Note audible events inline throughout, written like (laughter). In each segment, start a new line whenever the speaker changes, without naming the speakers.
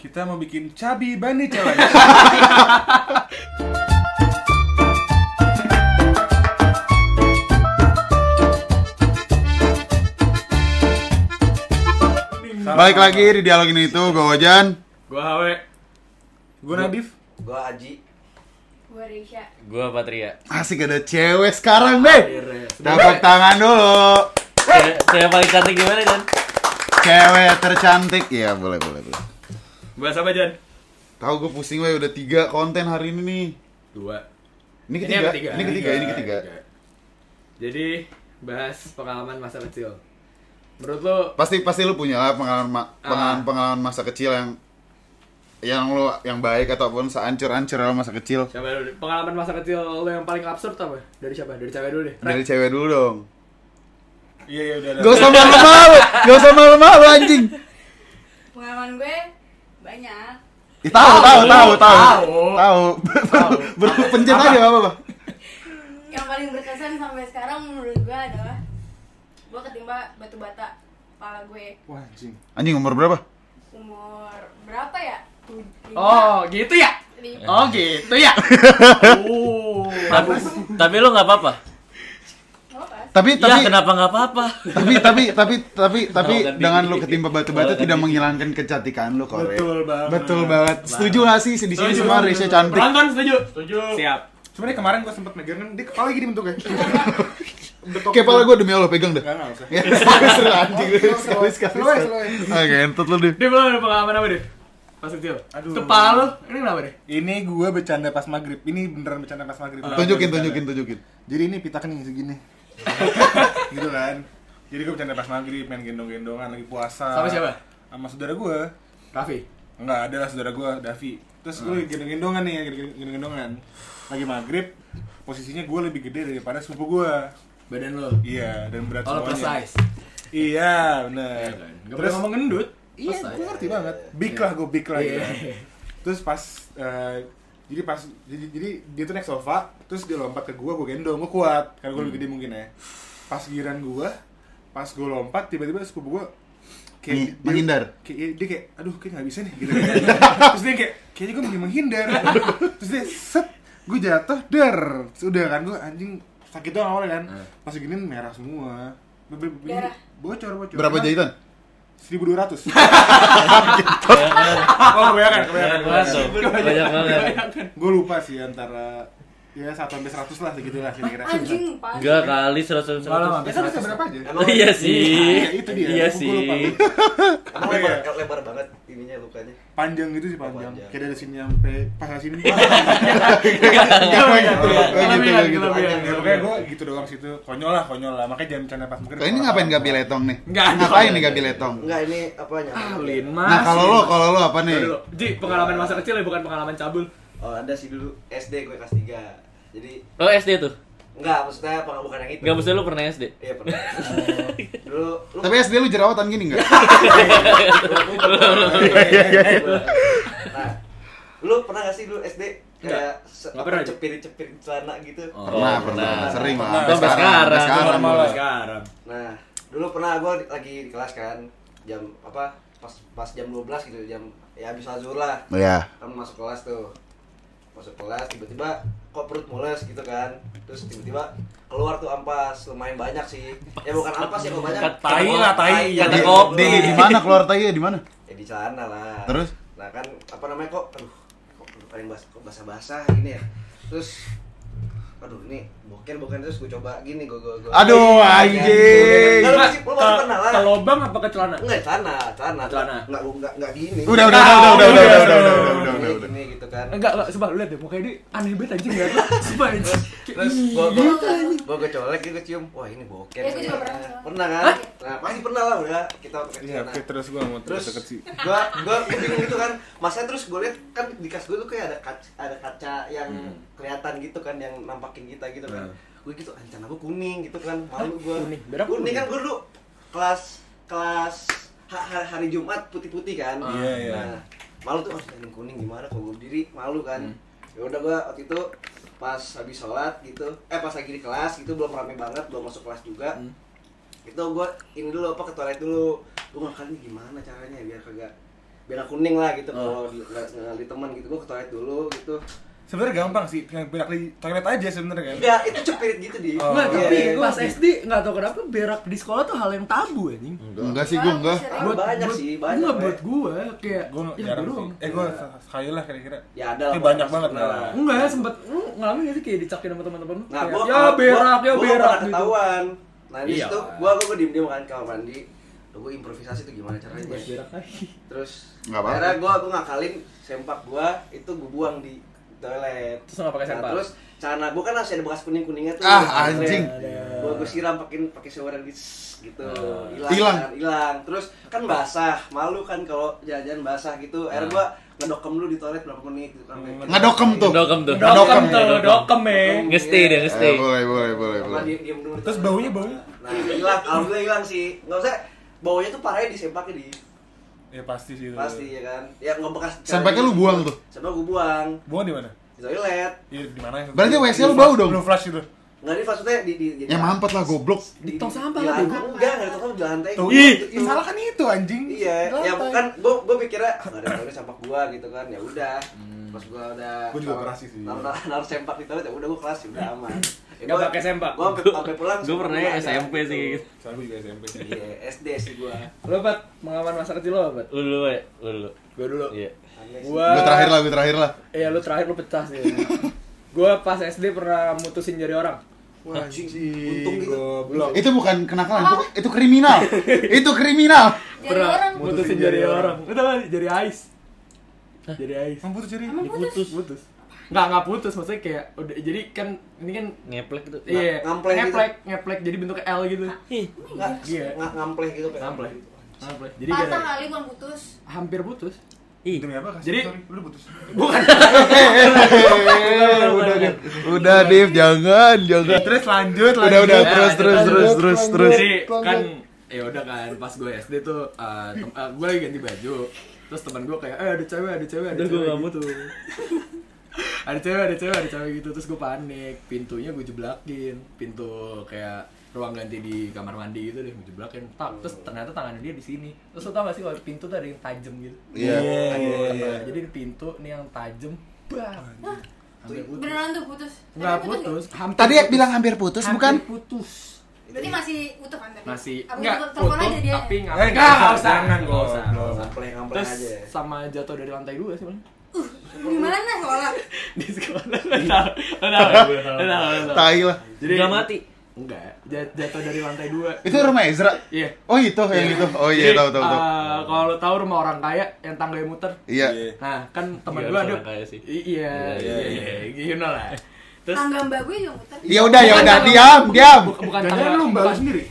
Kita mau bikin cabi bani cewek.
(laughs)
Balik lagi di dialog ini itu, gue Wajan
Gua HW.
Gue Nadif.
Gua
Iya.
Aji.
Gue Reisha
Gua ya? Patria.
Asik ada cewek sekarang deh Tepuk tangan dulu
Cewek cewek paling cantik gimana kan?
Cewek tercantik Ya boleh boleh boleh
Bahas apa Jan?
Tahu gue pusing weh udah tiga konten hari ini nih
Dua.
Ini
Ini
ketiga,
yang
ini,
ketiga.
ketiga, ini ketiga
Jadi bahas pengalaman masa kecil. Menurut lo
Pasti pasti lu punya lah pengalaman ma-
Ah.
pengalaman, pengalaman masa kecil yang yang lu yang baik ataupun seancur-ancur lo masa kecil
siapa dulu? Pengalaman masa kecil lo yang paling absurd apa? Dari siapa? Dari cewek dulu deh.
dari cewek dulu dong.
Iya iya udah.
Gak usah malu-malu, gak usah malu-malu anjing.
Pengalaman gue banyak
Ih, tahu, tahu, tahu, tahu,
Tahu.
tahu. (laughs) Ber- ber- Pencet aja nggak apa-apa.
Yang paling berkesan sampai sekarang menurut gue adalah Gue ketimpa batu bata Kepala gue
Wah anjing.
Anjing umur berapa?
Umur berapa ya? Tuh, lima,
Oh, gitu ya?
lima.
Oh, gitu (laughs) ya. Oh.
Tapi, tapi lu nggak apa-apa.
Gak apa-apa.
Iya.
Tapi
Ya
tapi
kenapa nggak apa-apa?
tapi tapi tapi tapi tapi
Tahu kan,
dengan
Didi?
lu ketimpa batu-batu
Tahu kan,
tidak
Didi?
menghilangkan kecantikan lu Kore.
Betul banget.
Betul banget. Setuju gak sih di sini semua Risha cantik?
Penonton setuju? Setuju. Siap.
Sebenarnya kemarin gue sempet megang kan dia kepala gini
(laughs)
bentuknya. Bentuk-
Kayak pala gue demi Allah pegang dah.
Nggak, nggak usah.
Ya, (laughs) seru anjing.
Slow, slow,
Sekali sekali.
slow, slow.
Oke, entot lu deh.
Dia belum ada pengalaman apa deh? Pas kecil.
Aduh.
Kepala lo, ini kenapa deh?
Ini gue bercanda pas maghrib. Ini beneran bercanda pas maghrib.
Ah. Tunjukin,
Bercanda.
tunjukin, tunjukin.
Jadi ini pita kening segini. gitu kan. Jadi gue bercanda pas maghrib main gendong-gendongan lagi puasa.
Sama siapa?
Sama saudara gue.
Raffi.
Enggak ada lah saudara gue, Davi. Terus gue lagi gendong-gendongan nih, lagi gendong-gendongan. Lagi maghrib, posisinya gue lebih gede daripada sepupu gue.
Badan lo.
Iya, dan berat
Kalau Oh, plus
semuanya.
size.
Iya, benar.
Gak boleh kan? ngomong gendut.
Iya,
Plus
gue
size.
ngerti banget. Big lah gue, big lah gitu.
Iya.
Terus pas eh, jadi pas jadi, jadi dia tuh naik sofa, terus dia lompat ke gua, gua gendong, gua kuat karena gua lebih
Hmm.
gede mungkin ya. Pas giliran gua, pas gua lompat tiba-tiba sepupu gua
Nih,
kayak dia-
menghindar.
Kayak, iya, dia kayak aduh kayak nggak bisa nih gitu. (laughs) terus dia kayak kayaknya gua mending menghindar. (laughs) terus dia set gua jatuh der. Sudah kan gua anjing sakit doang awalnya kan. Pas gini merah semua. Be- be- be-
Darah.
Bocor, bocor.
Berapa jahitan?
1200
Banyak banget.
Oh kebanyakan,
Banyak banget
kebanyakan
tuh. Banyak banget.
Gue lupa sih antara Ya 1 sampai 100 lah segitu lah kira-kira
Anjing pas
Enggak kali seratus
Malam
seratus.
Ya
habis.
kan bisa berapa aja?
Emang
Iya
Iya,
sih.
itu dia.
Iya
Aku
sih.
lupa.
Emang
Oh,
lebar,
iya.
lebar banget ininya lukanya.
Panjang gitu sih panjang
Panjang.
Kayak dari sini sampai pas sini
Kayak gitu, kayak gitu,
Kelebihan,
kayak gitu.
kelebihan.
Ya pokoknya gue gitu doang situ Konyol lah, konyol lah Makanya jangan bercanda pas mungkin
Kayak ini ngapain gak biletong nih?
Nggak ada.
Ngapain nih gak biletong?
Enggak ini apanya?
Alin mas.
Nah kalau lo, kalau lo apa nih?
Dulu. Ji, pengalaman masa kecil ya bukan pengalaman cabul.
Oh, ada sih dulu SD gue kelas 3. Jadi
Oh SD tuh.
enggak maksudnya apa bukan yang itu.
Enggak mesti lu pernah SD.
Iya pernah. (laughs) dulu lu
Tapi SD lu jerawatan gini gak?
(laughs) Iya,
Nah, lu pernah gak sih dulu SD
Enggak.
kayak se-
Nggak pernah, Oh.
apa, cepirin-cepirin celana gitu?
pernah, pernah, sering lah.
Pernah.
Sampai
Sampai
sekarang, sampai
sekarang.
sekarang.
Normal lah.
Sekarang.
Nah, dulu pernah gue lagi di kelas kan jam apa pas pas jam 12 gitu jam ya habis azur lah
Iya.
kan masuk kelas tuh masuk kelas tiba-tiba kok perut mules gitu kan terus tiba-tiba keluar tuh ampas lumayan banyak sih ya bukan ampas ya lumayan banyak
Tai lah, tai.
ya
Kata
Di,
kopi.
di, di mana keluar tai ya? Di mana?
ya di celana lah
Terus?
nah kan apa namanya kok aduh kok paling bas kok basah-basah gini ya terus aduh ini boker boker terus gue coba gini gue gue gue
Aduh, anjing.
lu Iya. masih lu masih pernah lah
Ke lobang apa ke celana?
Enggak, celana, celana,
Celana.
Enggak, enggak, enggak gini.
Udah, udah, udah, udah, udah, udah, udah, udah, udah, udah, udah,
Gini,
udah.
gini gitu kan.
Enggak, enggak, sebab lu lihat deh mukanya dia aneh banget anjing enggak tuh. Sebab anjing.
Terus gua gua, gua, gua colek gitu cium. Wah, ini boker.
Ya, gua juga pernah.
Pernah kan? Nah, pasti pernah lah udah kita waktu kecil.
Iya,
Nah,
oke terus gue mau
terus
terus deket sih
gua gua bingung gitu kan. Masa terus gua lihat kan di kas gua tuh kayak ada kaca, ada kaca yang
Hmm.
kelihatan gitu kan yang nampakin kita gitu
Iya.
kan. Gue gitu, "Ah, celana gua kuning gitu kan. Malu gua.
Kuning, berapa
Kuning
kuning?
kan gua dulu kelas kelas ha- hari, hari Jumat putih-putih kan.
Iya, iya.
Nah, malu tuh harus kuning kuning gimana kok gua diri malu kan. Ya udah gua waktu itu pas habis sholat gitu, eh pas lagi di kelas gitu belum rame banget, belum masuk kelas juga itu gue ini dulu apa ke toilet dulu gue makan ini gimana caranya ya biar kagak bela kuning lah gitu kalau di- nggak nggak di teman gitu gue ke toilet dulu gitu
Sebenarnya gampang sih, tinggal berak di toilet aja sebenarnya kan.
enggak itu cepirit gitu di
Oh.
Nggak, tapi
Iya,
pas
iya.
SD nggak tau kenapa berak di sekolah tuh hal yang tabu anjing.
Enggak sih gue enggak.
Ah, banyak sih, banyak,
Nggak
Bay.
buat gue kayak
Gue
ya,
jarang
gitu
sih.
doang.
Eh gue sekali lah kira-kira.
ya ada lah Nah.
Tapi banyak
pernah-
banget
pernah
lah.
lah.
Enggak, sempet lu ngalamin nggak sih kayak dicakin sama teman-teman lu?
Nah, gua
Kayak, ya
kalau-
berak,
gua-
ya
gua
berak
pernah
gitu.
ketahuan. Nah, di
Iya.
situ gua gua, gua diem-diem kan kamar mandi. Tuh gua improvisasi tuh gimana caranya.
Gua Iya, berak lagi.
Terus
Nggak apa-apa.
akhirnya gua gua ngakalin sempak gua itu gua buang di toilet.
Terus nggak pakai
Nah,
sempak?
terus celana gua kan harus ada bekas kuning-kuningnya tuh.
Ah,
Keren.
anjing.
Gua gua siram pakein pakai shower yang dis- gitu.
Ah.
Hilang.
Hilang.
kan, Hilang. Terus kan basah, malu kan kalau jajan basah gitu. Akhirnya
Ah.
gua ngedokem dulu di toilet berapa menit gitu kan.
Hmm.
Ngedokem tuh.
Dokem tuh.
Dokem
Dokem.
tuh, dokem ya.
iya.
Ngestay dia, ngestay.
Eh, boleh, boleh, boleh,
Sama
boleh.
diem- diem dulu di
Terus
toilet.
baunya baunya?
Nah, hilang, alhamdulillah hilang sih. Enggak usah baunya tuh parahnya di sempaknya di
Ya pasti sih. itu.
pasti ya kan. Ya ngebekas.
Sempaknya lu buang tuh?
Sempaknya gua buang
Buang di mana?
di toilet.
Iya di mana?
Berarti WC lu
Belum
bau
flush-
dong?
Belum flush itu.
Enggak di maksudnya di di di-
Ya mampet lah goblok.
Di tong sampah
di
lah,
lantai.
Bego.
Enggak, enggak di tong sampah di lantai.
Tuh,
Gitu.
ih, salah kan itu anjing.
Iya,
Di
ya
lantai.
kan gua gua mikirnya "Ah, nggak ada toilet sempak gua gitu kan. Ya udah.
Hmm.
Pas gua udah
Gua juga
naruh-
operasi sih.
Naruh naruh, naruh sempak di toilet ya udah gua kelas ya
(laughs)
udah aman. Ya,
Nggak
gua-
pakai sempak.
Gua sampai sampai pulang.
Gue pernah
sempak gua ada,
SMP sih kayak gitu.
Soalnya gue juga SMP sih.
Iya, SD sih gua.
Lu Pat, pengalaman masa kecil lo apa? Pat?
Lu dulu, ya. Lu dulu.
Gua dulu.
Iya.
Aneh sih.
Gua
Gue terakhir lah, gue terakhir lah.
Iya, lu terakhir lu pecah sih. Gua pas SD pernah mutusin jari orang.
Wah, anjing sih.
Untung gitu.
Goblok.
Itu bukan kenakalan, itu, itu kriminal. itu kriminal.
Jadi orang
mutusin jari orang. Udah kan jari ais. Jari ais.
Emang putus jadi.
emang putus.
Putus. Enggak, enggak putus maksudnya kayak udah jadi kan ini kan
Ngeplek tuh.
iya
ngampleng gitu.
ngeplek, ngeplek jadi bentuknya L gitu.
Ih,
Nggak,
Iya.
nggak ngampleh gitu pengen.
Ngampleh. Ngeplek. Jadi
Patah
gara-
kali bukan putus.
hampir putus.
ih.
Demi apa kasih?
Jadi-
sorry, lu udah putus.
Bukan.
Hehehe, udah, Div. udah, Div, jangan, jangan.
Nah, Terus lanjut, lanjut.
Udah, udah,
Ya,
terus, terus,
lanjut,
terus, terus, terus.
Jadi kan ya udah kan pas gue SD tuh eh, tem- eh, gue lagi ganti baju terus teman gue kayak eh ada cewek ada cewek ada
Udah,
cewek
gua ngamut.
gitu (laughs) ada cewek ada cewek ada cewek gitu terus gue panik pintunya gue jeblakin pintu kayak ruang ganti di kamar mandi gitu deh gue jeblakin tak terus ternyata tangannya dia di sini terus lo tau gak sih kalau pintu tuh ada yang tajam gitu
Iya.
Iya, iya.
jadi di pintu nih yang tajam bah hampir Ya, putus
Beneran tuh putus. Tapi
nggak
putus
putus hampir
Tadi
putus.
bilang hampir putus,
Hampir
bukan?
putus
nggak? Berarti masih utuh kan tadi?
masih
Apa
enggak
telepon-
foto
telepon aja dia.
tapi nggak
Eh,
enggak enggak
nggak
usah
usah,
enggak
nggak
usah
usah.
nggak usah.
Ngampleh-ngampleh
terus
Oh, aja. ya.
sama jatuh dari lantai dua sih malah
Gimana nah, sekolah?
(laughs) di sekolah lo tau lo tau lo tau lo tau.
Tai lah.
jadi
Nggak mati.
enggak ja- jatuh dari lantai dua
Itu rumah Ezra.
iya
Oh, itu yang itu. Oh iya,
Jadi,
tahu, tahu, tahu.
eh, kalau lo tahu rumah orang kaya yang tangganya muter
Iya.
nah kan teman
Iya,
gue
orang
ada
kaya sih.
I- iya iya iya you know lah terus
Tangga mbak gue juga muter.
Ya udah, ya
Bukan
udah,
tangan-
diam, diam.
bu- bukan
Jangan
tangga
lu mbak lu
bukan-
sendiri.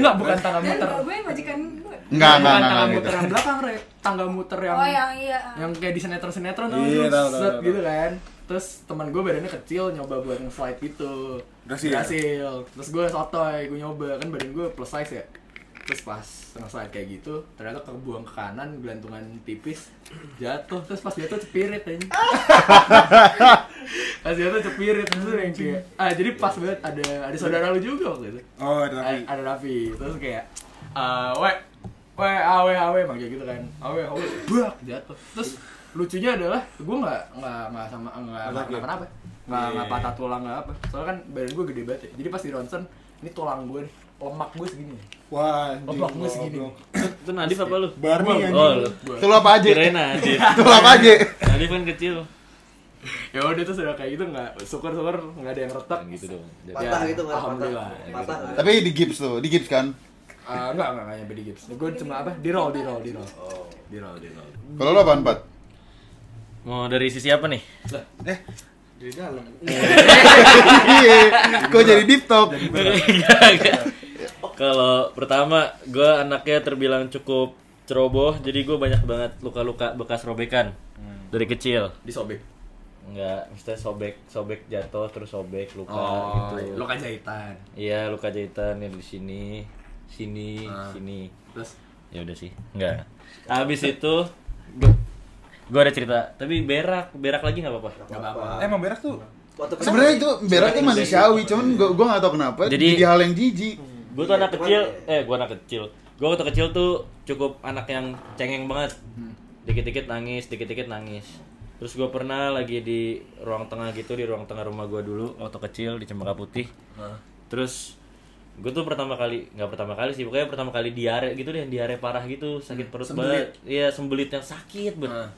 enggak bukan tangga
Dan
muter
mbak gue majikan
Enggak,
gue.
enggak,
bukan
enggak,
tangga
enggak gitu.
muter yang belakang re tangga muter yang
Oh yang iya.
yang kayak di sinetron sinetron tuh
Iya, tahu, tahu,
set
tahu.
gitu kan terus teman gue badannya kecil nyoba buat nge-slide gitu
Berhasil.
terus gue sotoy gue nyoba kan badan gue plus size ya terus pas nge-slide kayak gitu ternyata kebuang ke kanan gelantungan tipis jatuh terus pas jatuh cepirit aja
(laughs)
pas jatuh cepirit terus yang kayak ah jadi pas banget ada ada saudara lu juga waktu itu
Oh, ada
ada
tapi.
ada Raffi terus kayak eh we we awe awe emang kayak gitu kan awe awe brak jatuh terus lucunya adalah gue nggak nggak nggak sama nggak nggak
Sakit.
kenapa nggak nggak
Iya.
patah tulang nggak apa soalnya kan badan gue gede banget ya jadi pas di ronsen ini tulang gue nih lemak gue segini
Wah, anjing.
lemak gue segini
goblok.
Itu Nadif apa lu?
Barney
Oh,
anjing.
lu.
Itu lu apa aja?
Kirain Nadif.
(laughs)
Itu lu apa aja?
Nadif kan kecil.
ya udah terus udah kayak gitu nggak syukur syukur nggak ada yang retak
Gitu dong.
Patah gitu nggak ada
alhamdulillah. ya
patah. Patah nggak
gitu.
ada.
Tapi di gips tuh, di gips kan?
Ah, nggak nggak nggak nyampe di gips gue cuma apa di roll di roll di roll di roll di roll
Kalau lu apaan, Pat?
Mau dari sisi apa
(laughs)
nih?
Eh, di dalam.
Iya, kok jadi deep talk?
Kalau pertama, gue anaknya terbilang cukup ceroboh, jadi gue banyak banget luka-luka bekas robekan
Hmm.
dari kecil.
disobek
Enggak, misalnya sobek, sobek jatuh terus sobek luka
oh
gitu.
lo kan jahitan
Iya, luka jahitan yang di sini, sini,
Ah.
sini.
terus
Ya udah sih, enggak. Habis itu, gue gue ada cerita, tapi berak, berak lagi nggak apa-apa.
nggak apa-apa
Eh, Emang berak tuh
Waktu kecil-
Sebenarnya iya, itu berak tuh manusiawi, cuman gua gua enggak tahu kenapa
Jadi-
jadi hal yang jijik.
Gue tuh anak
cuman
kecil,
ya.
eh gue anak kecil. Gue waktu kecil tuh cukup anak yang cengeng banget.
Hmm.
Dikit-dikit nangis, dikit-dikit nangis. Terus gue pernah lagi di ruang tengah gitu, di ruang tengah rumah gue dulu waktu kecil di Cempaka Putih. Terus gue tuh pertama kali nggak pertama kali sih pokoknya pertama kali diare gitu deh diare parah gitu sakit perut
Hmm, Sembelit.
banget iya sembelit yang sakit banget
Nah.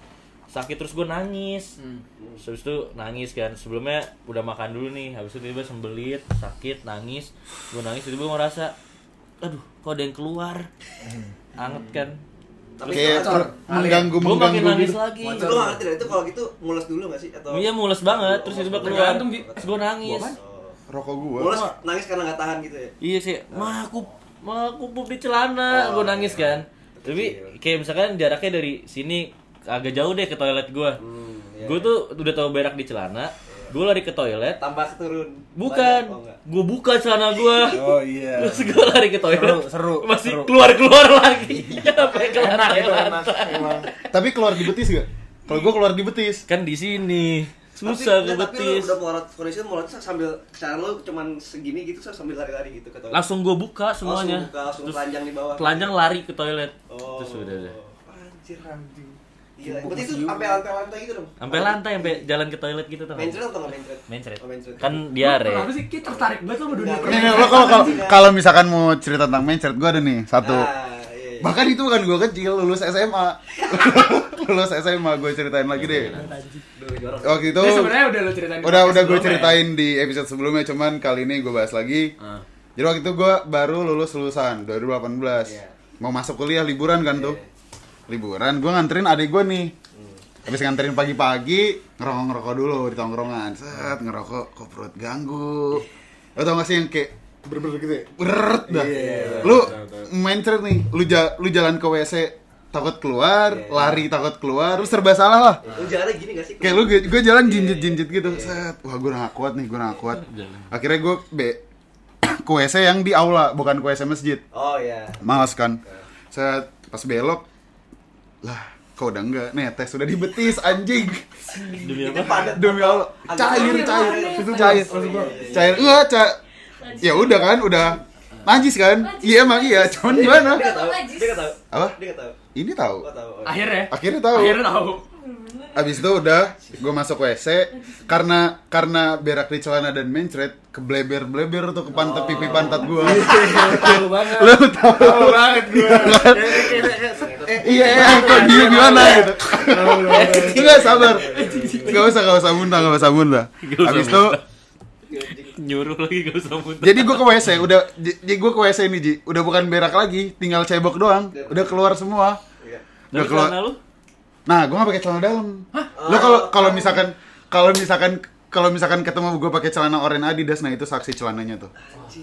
sakit terus gue nangis
Hmm.
Terus habis itu nangis kan sebelumnya udah makan dulu nih habis itu tiba-tiba sembelit sakit nangis gue nangis tiba-tiba gua ngerasa aduh kok ada yang keluar
Hmm.
anget kan
Tapi
kayak
kalau-
mengganggu
gue makin
mengganggu
nangis
gitu.
lagi
Itu gue ngerti dah, itu kalau gitu mules dulu gak sih? Atau
iya mules banget terus tiba-tiba keluar
Tergantung, kan Ji.
terus gue nangis
Oh.
Rokok gua.
Mules nangis karena gak tahan gitu ya?
Iya sih, mah aku mah aku pup di celana,
Oh,
gue nangis
iya.
kan. Tapi kayak misalkan jaraknya dari sini agak jauh deh ke toilet gue.
Hmm, iya,
gue tuh udah tahu berak di celana, gue lari ke toilet.
Tambah keturun
Bukan,
Banyak, oh, enggak.
gue buka celana gue.
Oh iya.
(laughs) Terus gue lari ke toilet,
Seru, seru, seru.
masih keluar-keluar lagi.
Iya.
(laughs) Apa yang keluar keluar?
Tapi keluar di betis gak? Kalau gua keluar di betis.
Kan di sini susah
Tapi-
ke
enggak, Tapi lu
betis.
udah mulut kondisi mulut sambil cara lu cuman segini gitu so, sambil lari-lari gitu ke toilet.
Langsung gue buka semuanya.
buka, langsung
Terus
telanjang di bawah.
Telanjang lari ke toilet.
Oh.
Terus udah deh.
Anjir anjing. Gila, berarti itu sampai lantai-lantai gitu dong.
Sampai lantai, sampai jalan ke toilet gitu tuh.
Mencret atau enggak mencret?
Mencret.
Oh, mencret.
Kan diare.
Kenapa sih kita tertarik banget sama dunia
Nggak,
Nih,
keren?
nih, lo kalau kalau- kalau misalkan mau cerita tentang mencret gua ada nih satu.
Ah, iya, iya.
Bahkan itu bukan gua kecil, lulus SMA. (laughs) lulus SMA gua ceritain lagi deh.
Duh, jorok.
Waktu itu
Ini sebenarnya udah lo ceritain. di
udah
podcast
udah gue
sebelumnya ya?
ceritain di episode sebelumnya cuman kali ini gue bahas lagi
Ah.
jadi waktu itu gue baru lulus lulusan 2018
Iya.
mau masuk kuliah liburan kan tuh liburan gue nganterin adik gue nih habis nganterin pagi-pagi ngerokok ngerokok dulu di tongkrongan set ngerokok kok perut ganggu lo tau gak sih yang kayak
Berber gitu ya.
beret dah
Iya.
lu mencret nih lu ja- lu jalan ke wc takut keluar
Iya.
lari takut keluar lu serba salah lah
Lu jalannya gini gak sih?
Kayak lu gue jalan
Iya,
jinjit jinjit gitu. Set. Wah, gue gak kuat nih, gue gak kuat. Akhirnya gue be (clears throat) ke WC yang di aula, bukan ke WC masjid.
Oh iya.
Males kan. Set pas belok lah kok udah enggak netes udah di betis anjing
Demi
Itu
apa?
padat.
demi Allah cair
Agak-
cair
Agak-
itu
Agak-
cair
Oh, iya, iya, iya.
cair enggak ca- ya udah kan udah najis kan iya emang iya cuman gimana
Dia gak tahu.
Najis.
Dia gak tahu.
Apa?
Dia gak tahu.
ini tahu
Gua tahu. oh, iya.
Akhirnya.
akhirnya tahu
Akhirnya tahu.
Abis itu udah gue masuk WC karena karena berak di celana dan mencret kebleber bleber tuh ke pantat pipi pantat gue.
Tahu banget.
Lu tau
Tahu banget gua.
iya iya kok dia gimana gitu. Enggak sabar. Gak usah gak usah muntah gak usah muntah.
Nggak usah
Abis itu
nyuruh lagi gak usah muntah
jadi gue ke WC udah j- jadi gue ke WC ini Ji udah bukan berak lagi tinggal cebok doang udah keluar semua.
Iya.
Udah
Tapi
keluar.
celana lu
Nah, gua nggak pakai celana dalam. Lo kalau kalau misalkan kalau misalkan kalau misalkan ketemu gua pakai celana oranye Adidas, nah itu saksi celananya tuh.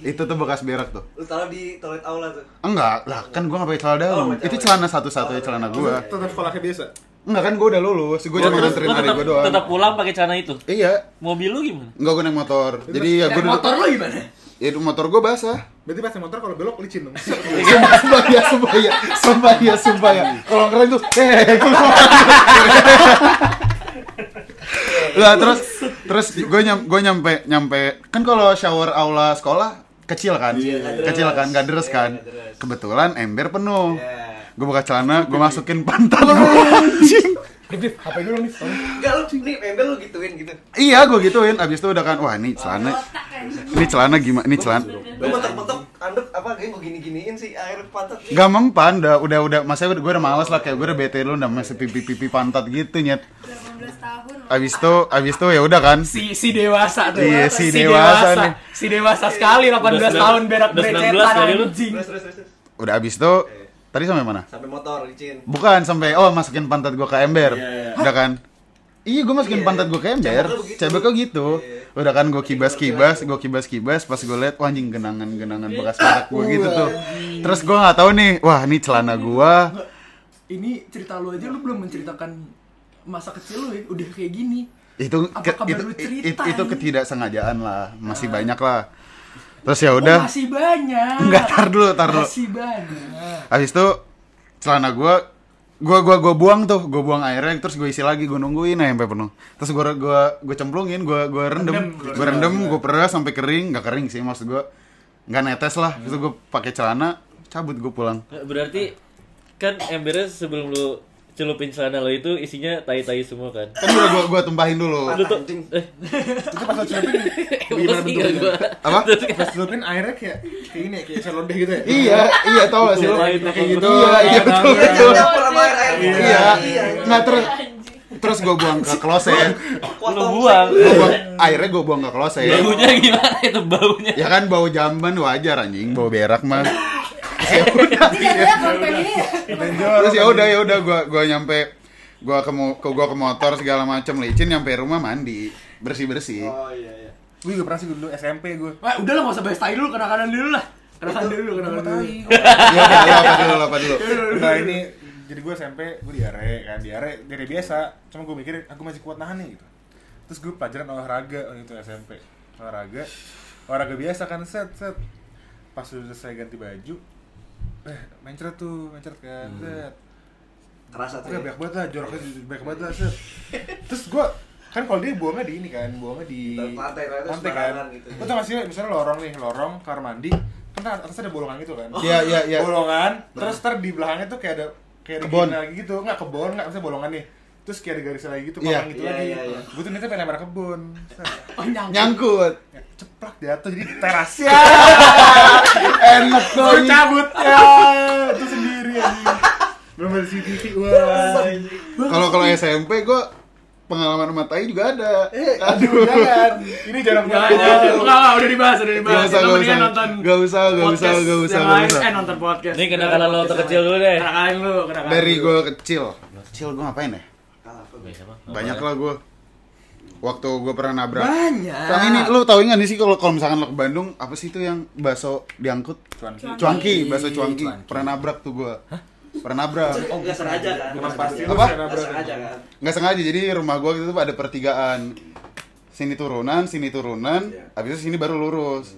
Itu tuh bekas berak tuh.
Lu taruh di toilet aula tuh.
Enggak, lah kan gua nggak pakai celana dalam.
Oh, nggak
itu
tahu ya.
celana satu-satunya celana gua.
Tetap sekolahnya biasa.
Enggak kan gua udah lulus, gua cuma
Lu tetap-
nganterin
lu
adik
tetap-
gua doang.
tetap pulang pakai celana itu
Iya,
mobil lu gimana
enggak gua naik motor. Jadi ya gua
Dan motor lu gimana?
ya itu motor gua basah.
Berarti pas naik motor kalau belok
(laughs)
licin dong.
sumpah, sumpah ya, sumpah ya, sumpah ya, sumpah ya. Kalau keren tuh, eh, keluar. Lah terus terus gue nyam gue nyampe nyampe kan kalau shower aula sekolah kecil kan,
Iya.
kecil kan, gak deres
Iya,
kan.
nggak deres.
Kebetulan ember penuh.
Iya.
Gue buka celana, gue masukin pantat (laughs) gua.
Eh,
HP gue dong nih.
Enggak lu nih embel lu gituin gitu.
Iya, gue gituin. Abis itu udah kan, wah ini celana,
Otak kan.
ini celana gimana, ini celana.
Lu mentok-mentok anduk apa kayak gua gini-giniin sih air pantat nih.
Gak mempan, udah, udah, udah, maksudnya gue udah males lah, kayak gue udah bete lu, udah masih pipi-pipi pantat gitu, nyet
18 tahun.
Abis itu, abis itu ya udah kan.
Si si dewasa tuh.
Iya, si dewasa nih.
Si dewasa sekali 18
19
tahun berak
udah 19
berecetan
kali lu.
anjing.
Terus terus terus. terus.
Udah abis itu, tadi sampai mana?
Sampai motor licin.
Bukan sampai oh masukin pantat gua ke ember. Udah kan? Iya, gua masukin
Iya,
pantat
iya.
gua ke ember.
Cebok lu begitu.
Cebok kok gitu.
Iya.
Udah kan gua kibas-kibas, gua kibas-kibas pas gua lihat wah anjing genangan-genangan bekas pantat gua gitu tuh. Terus gua nggak tahu nih, wah ini celana gua.
Ini cerita lu aja lu belum menceritakan masa kecil lu ya, udah kayak gini.
Itu
Apa
ke-
kabar
itu,
lu
i-
cerita
i- itu
ini?
ketidaksengajaan lah, masih banyak lah. Terus ya
Oh,
udah,
masih banyak.
enggak tar dulu, tar dulu.
Masih banyak.
Habis itu celana gua gua gua gua buang tuh, gua buang airnya terus gua isi lagi, gua nungguin aja sampai penuh. Terus gua gua gua cemplungin, gua gua rendem, gua rendem, gua peras sampai kering, nggak kering sih maksud gua. Nggak netes lah. Terus gua pakai celana cabut gue pulang
Nggak, Berarti kan embernya sebelum lu celupin celana lo itu isinya tai-tai semua
(laughs)
kan?
kan udah gue gue tumpahin dulu
Lu tuh
Anjing.
eh
itu pas lo celupin gimana
emosi
bentuknya
gua.
Apa?
Terus kayak,
pas celupin airnya kayak kayak ini ya, kayak celodeh gitu ya
iya iya tau gak sih lu?
Tumpahin,
kayak gitu
tumpahin.
iya iya betul
Iya,
betul
Iya, pernah main air putih.
iya
Iya.
nah terus terus gue buang ke kloset
Lu
Potong.
(laughs) buang.
Gua buang- akhirnya gue buang ke kloset
Baunya gimana itu baunya?
ya kan bau jamban wajar anjing bau berak mah
Jadi ada
ya.
konten ini
Iya.
terus ya udah ya udah gua gua nyampe gua ke mo- ke gua ke motor segala macam licin nyampe rumah mandi bersih bersih
Oh iya iya.
gue juga pernah sih dulu SMP gue
Wah, udah lah, nggak usah bahas tai dulu, kena kanan dulu lah. Kena kanan dulu, kena kanan dulu.
ya udah lu apa dulu lu apa dulu (laughs)
Nah ini jadi gue SMP gue diare kan diare dari biasa cuma gue mikir aku masih kuat nahan nih gitu terus gue pelajaran olahraga waktu itu SMP olahraga olahraga biasa kan set set pas udah selesai ganti baju eh mencret tuh mencret kan set
Kerasa tuh.
Oke,
ya.
banyak banget lah, joroknya banyak banget lah, set. Terus gue, kan kalau dia buangnya di ini kan, buangnya di
Lantai, lantai,
kan.
sembarangan gitu.
Lo tau gak sih, misalnya lorong nih, lorong, kamar mandi, kan ntar atasnya ada bolongan gitu
Oh.
kan.
Iya, iya, iya.
Bolongan, terus
Nah.
ntar di belakangnya tuh kayak ada kayak ada
Kebon.
gini lagi gitu, nggak kebon, nggak misalnya bolongan nih. Terus kayak ada garisnya lagi gitu,
Iya.
kolong gitu
Iya,
lagi.
iya, iya.
Gue tuh niatnya pengen lempar kebun. Set.
Oh, nyangkut.
nyangkut
Ya, Ceplak jatuh jadi
(laughs)
terasnya.
enak tuh
Gue cabut ya, itu sendiri anjing. Belum ada CCTV, wah.
kalau kalau SMP gua pengalaman matai juga ada
Aduh, Eh,
aduh
jangan. Ini jarang
Jangan, jangan, jangan. Nggak, nggak, udah dibahas, udah dibahas.
Nggak usah,
Kita
nggak
mendingan
usah.
nonton
Nggak usah, nggak usah,
podcast
nggak usah,
yang
nggak
lain.
usah.
Eh, nonton podcast.
Ini kena
eh.
kanan lo terkecil dulu deh.
Kena kanan lu, kena kanan
dari
lu.
gua kecil kecil gua ngapain ya
Kalah aku.
banyak lah gua waktu gua pernah nabrak
Banyak.
Kang ini lu tau nggak nih sih kalau kalau misalkan lo ke Bandung apa sih itu yang bakso diangkut?
Cuanki.
Cuangki, bakso
Cuangki.
cuangki. Pernah nabrak tuh gua. Pernah nabrak.
Oh, nggak sengaja kan?
Bukan pasti lu
Apa?
saya
Nggak
nabrak.
sengaja kan?
Nggak sengaja jadi rumah gua itu ada pertigaan. Sini turunan, sini turunan,
Iya. Hmm.
habis itu sini baru lurus.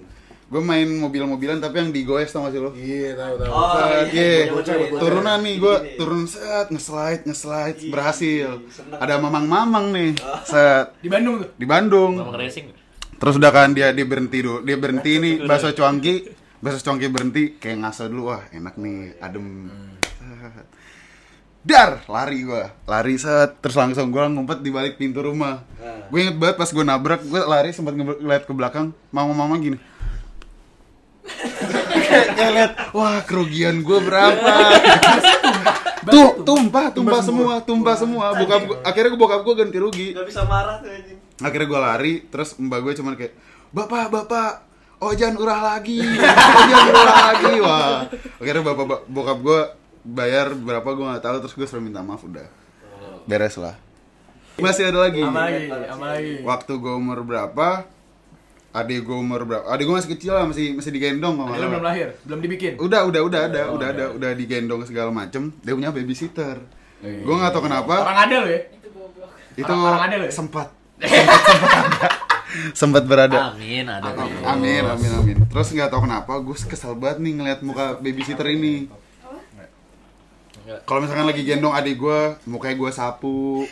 Gue main mobil-mobilan tapi yang digoes tau gak sih lo?
Iya, tahu tahu.
Oh,
Set,
iya,
ye.
bocah, bocah.
Turunan nih gue
Gini.
turun set ngeslide ngeslide
Ih,
berhasil.
seneng.
Ada mamang-mamang nih set
Di Bandung tuh. Eh,
di Bandung.
Ngomong racing.
Terus udah kan dia dia berhenti dulu. Dia berhenti nih bakso cuangki. Bakso cuangki berhenti kayak ngaso dulu. Wah, enak nih, adem. Hmm. Dar, lari gua. Lari set terus langsung gua ngumpet di balik pintu rumah.
Nah.
Gue inget banget pas gua nabrak, gua lari sempat nge- ngeliat ke belakang, mama-mama (laughs) gini. kayak kayak liat, wah kerugian gua (laughs) berapa? Tuh, tumpah, tumpah semua, tumpah semua. Bokap gua- akhirnya gua- bokap gua ganti rugi
Nggak bisa marah tuh anjing.
akhirnya gue lari terus mbak gue cuman kayak bapak bapak ojan urah lagi ojan urah lagi wah akhirnya bapak bap- bokap gue bayar berapa gue nggak tahu terus gue suruh minta maaf udah beres lah masih ada lagi
Sama Oh.
Eh, iya,
lagi, sama lagi.
waktu gue umur berapa adik gue umur berapa adik gue masih kecil lah masih masih digendong kalau
Ada
nggak
lu belum
salah.
lahir, Oh, iya. belum dibikin.
udah udah udah ada udah ada udah digendong segala macem dia punya babysitter gue nggak tahu kenapa
Iya. Orang ada lo ya.
Itu goblok
itu
Orang- orang ada loh ya?
sempat
(laughs)
sempat sempat berada
Amin, ada.
amin amin amin terus nggak tahu kenapa gue kesel banget nih ngeliat muka babysitter ini kalau misalkan lagi gendong adik gue mukanya gue sapu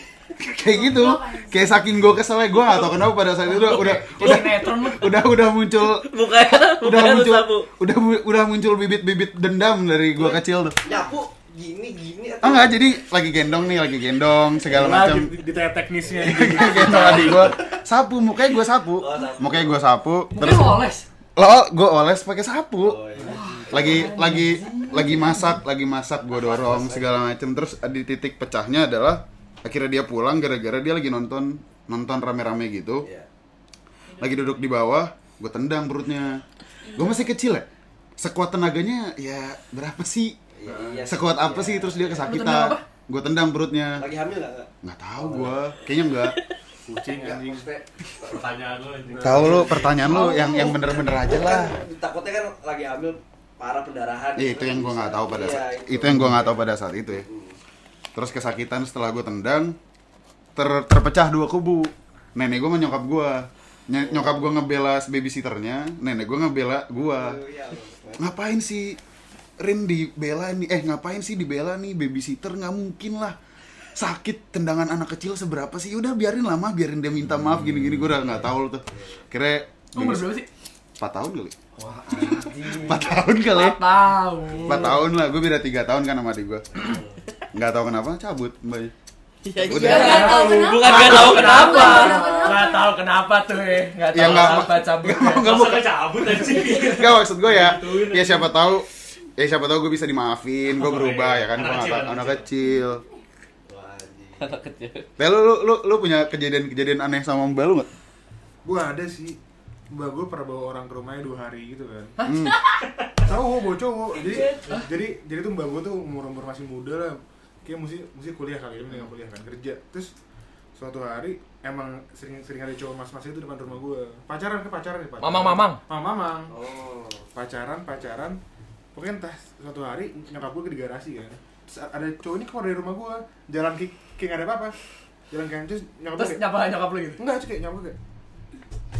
kayak gitu kayak saking gue keselnya gue nggak tahu kenapa pada saat itu udah udah udah
Sinetron lu.
udah, udah muncul
Mukanya,
udah
mukanya lu
muncul
sapu.
udah mu- udah muncul bibit-bibit dendam dari gue kecil tuh
Nyapu Ya, gini gini atau
ah nggak jadi lagi gendong nih lagi gendong segala macam
Lagi di teknisnya (laughs)
gitu adik gue sapu mukanya gue sapu
Oh,
mukanya gue sapu
Mungkin
terus
lu oles.
lo gue oles pakai sapu
Oh, iya.
lagi lagi lagi masak lagi masak gue dorong segala macem terus di titik pecahnya adalah akhirnya dia pulang gara-gara dia lagi nonton nonton rame-rame gitu
Iya.
lagi duduk di bawah gue tendang perutnya gue masih kecil ya sekuat tenaganya ya berapa sih
Iya, iya sih,
sekuat apa
iya.
sih terus dia
tendang
kesakitan
apa?
gue tendang perutnya
Lagi hamil nggak? nggak?
nggak tahu gue kayaknya nggak
Kucing anjing.
Maksudnya,
Pertanyaan lu anjing.
Tahu lu pertanyaan lu yang yang bener-bener aja lah.
Kan, takutnya kan lagi hamil parah pendarahan.
Iya, itu yang gua nggak tahu pada
Iya,
saat
itu.
itu yang gua nggak tahu pada saat itu ya. Terus kesakitan setelah gua tendang ter- terpecah dua kubu. Nenek gua sama nyokap gua. Ny- nyokap gua ngebela babysitternya, nenek gua ngebela gua.
Iya,
Ngapain sih Rin dibela nih? Eh, ngapain sih dibela nih babysitter? Nggak mungkin lah. Sakit tendangan anak kecil seberapa sih? Udah biarin lama, biarin dia minta maaf gini-gini gua udah nggak tahu lu tuh. Kira
Umur berapa sih?
4 tahun kali
Wah,
4 tahun kali ya
Empat
4
tahun.
tahun lah, gue beda 3 tahun kan sama adik gue Gak tau kenapa, cabut Mbak
Iya,
Udah.
iya.
Gak tau kenapa.
Bukan gak tahu kenapa.
Gak tahu kenapa tuh ya. Gak
Ya,
tahu
nggak-
kenapa cabutnya.
Nggak
Masa kecabut anjing.
Gak maksud gue ya, ya siapa tahu Ya siapa tahu gue bisa dimaafin, gue berubah ya kan Gue gak
Anak
tau,
kecil, anak
anak kecil
Anak kecil.
Ya lu, lu, lu, lu punya kejadian-kejadian aneh sama mbak lu gak?
Gue ada sih Mbak gue pernah bawa orang ke rumahnya dua hari gitu kan
Hmm.
Cowok, bawa cowok Jadi, jadi, jadi tuh mbak gue tuh umur-umur masih muda lah Kayak mesti, mesti kuliah kali, ini nggak kuliah kan, kerja Terus suatu hari emang sering sering ada cowok mas-mas itu depan rumah gue pacaran ke pacaran ya pacaran
Mamang-mamang?
mamang mamang
Oh.
pacaran pacaran pokoknya entah suatu hari nyokap gue di garasi kan terus ada cowok ini keluar dari rumah gue jalan kayak kayak nggak ada apa-apa jalan kayak terus nyokap gue
Terus
kayak,
nyapa nyokap lu gitu.
enggak terus kayak nyokap gue kayak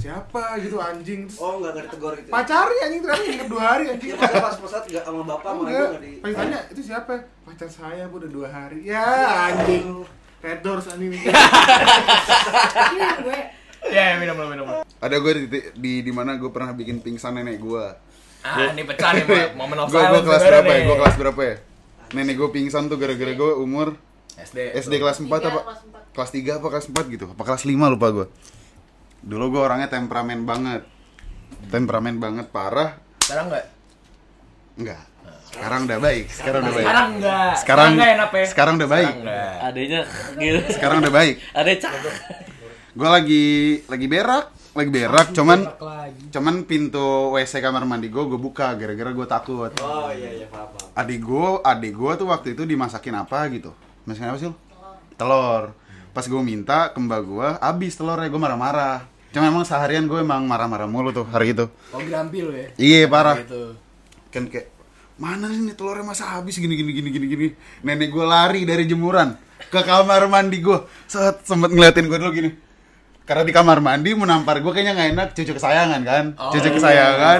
siapa gitu anjing terus
Oh, enggak ngerti tegur gitu.
pacarnya anjing ternyata nyokap dua hari anjing
Ya masa pas pesat enggak sama bapak sama ibu
enggak
enggak di.
pas tanya itu siapa pacar saya bu udah dua hari ya anjing Red Doors anjing (laughs)
Iya, gue.
Ya, ya, minum lu, minum lu.
Ada gue di, di, di, mana gue pernah bikin pingsan nenek gue
Ah, ini pecah nih
(laughs)
Pak. momen of
gue gue
silence
kelas
sebenarnya
berapa ya?
nih.
Gue kelas berapa ya? Nenek gue pingsan tuh gara-gara gue umur
SD.
SD kelas 4
Tiga,
apa?
kelas empat.
Kelas 3 apa kelas 4 gitu? Apa kelas 5 lupa gue Dulu gue orangnya temperamen banget Temperamen banget, parah
Sekarang enggak?
Enggak Sekarang udah baik Sekarang udah baik
Sekarang enggak.
Sekarang
enggak enak ya.
Sekarang udah baik
Sekarang enggak.
Adanya gitu.
Sekarang udah baik
Ada cak.
Gue lagi lagi berak Lagi berak, cuman
Enak lagi.
Cuman pintu WC kamar mandi gue gue buka gara-gara gue takut
Oh iya iya paham. paham.
adik gua adik gua tuh waktu itu dimasakin apa gitu masakin apa sih lu telur pas gua minta ke mbak gua abis telurnya gua marah-marah cuma emang seharian gua emang marah-marah mulu tuh hari itu
Oh, grampi lu ya.
iya parah
Gitu.
kan kayak mana sih nih telurnya masa habis gini gini gini gini gini nenek gua lari dari jemuran ke kamar mandi gua set sempet ngeliatin gua dulu gini karena di kamar mandi menampar gua kayaknya nggak enak cucu kesayangan kan
Oh,
cucu
iya.
kesayangan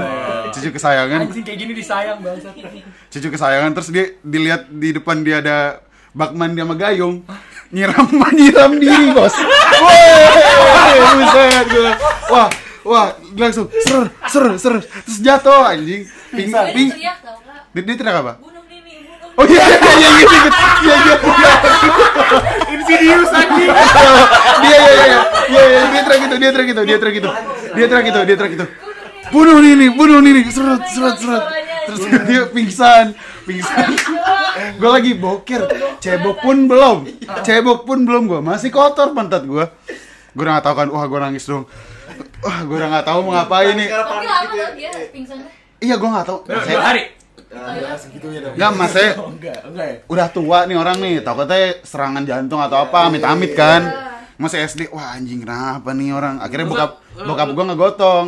cucu kesayangan
Anjing kayak gini disayang banget.
cucu kesayangan terus dia dilihat di depan dia ada bakman dia sama gayung nyiram (laughs) nyiram diri bos Woi, buset gua. wah wah langsung ser ser ser terus jatuh anjing ping
Gue
ping
teriak tau gak?
dia, dia teriak apa
Bunuh Nini, bunuh
oh iya iya iya iya iya iya iya iya
insidious anjing
dia iya iya iya iya dia teriak gitu dia teriak gitu dia teriak gitu dia teriak gitu dia teriak gitu bunuh ini bunuh ini seret seret seret terus dia pingsan pingsan gue lagi boker cebok pun belum cebok pun belum gue masih kotor pantat gue gue udah gak tau kan wah gue nangis dong wah gue udah gak tau mau ngapain nih
Tapi
gitu
lama
ya.
tau dia Gitu ya, pingsannya
iya gue gak tau
Dua hari.
Iya, gitu ya.
segitunya dong
Gak Ya,
(laughs)
mas saya
Oh, enggak, enggak Iya, ya.
udah tua nih orang nih takutnya serangan jantung atau apa amit-amit kan masih SD wah anjing kenapa nih orang akhirnya bokap bokap gue ngegotong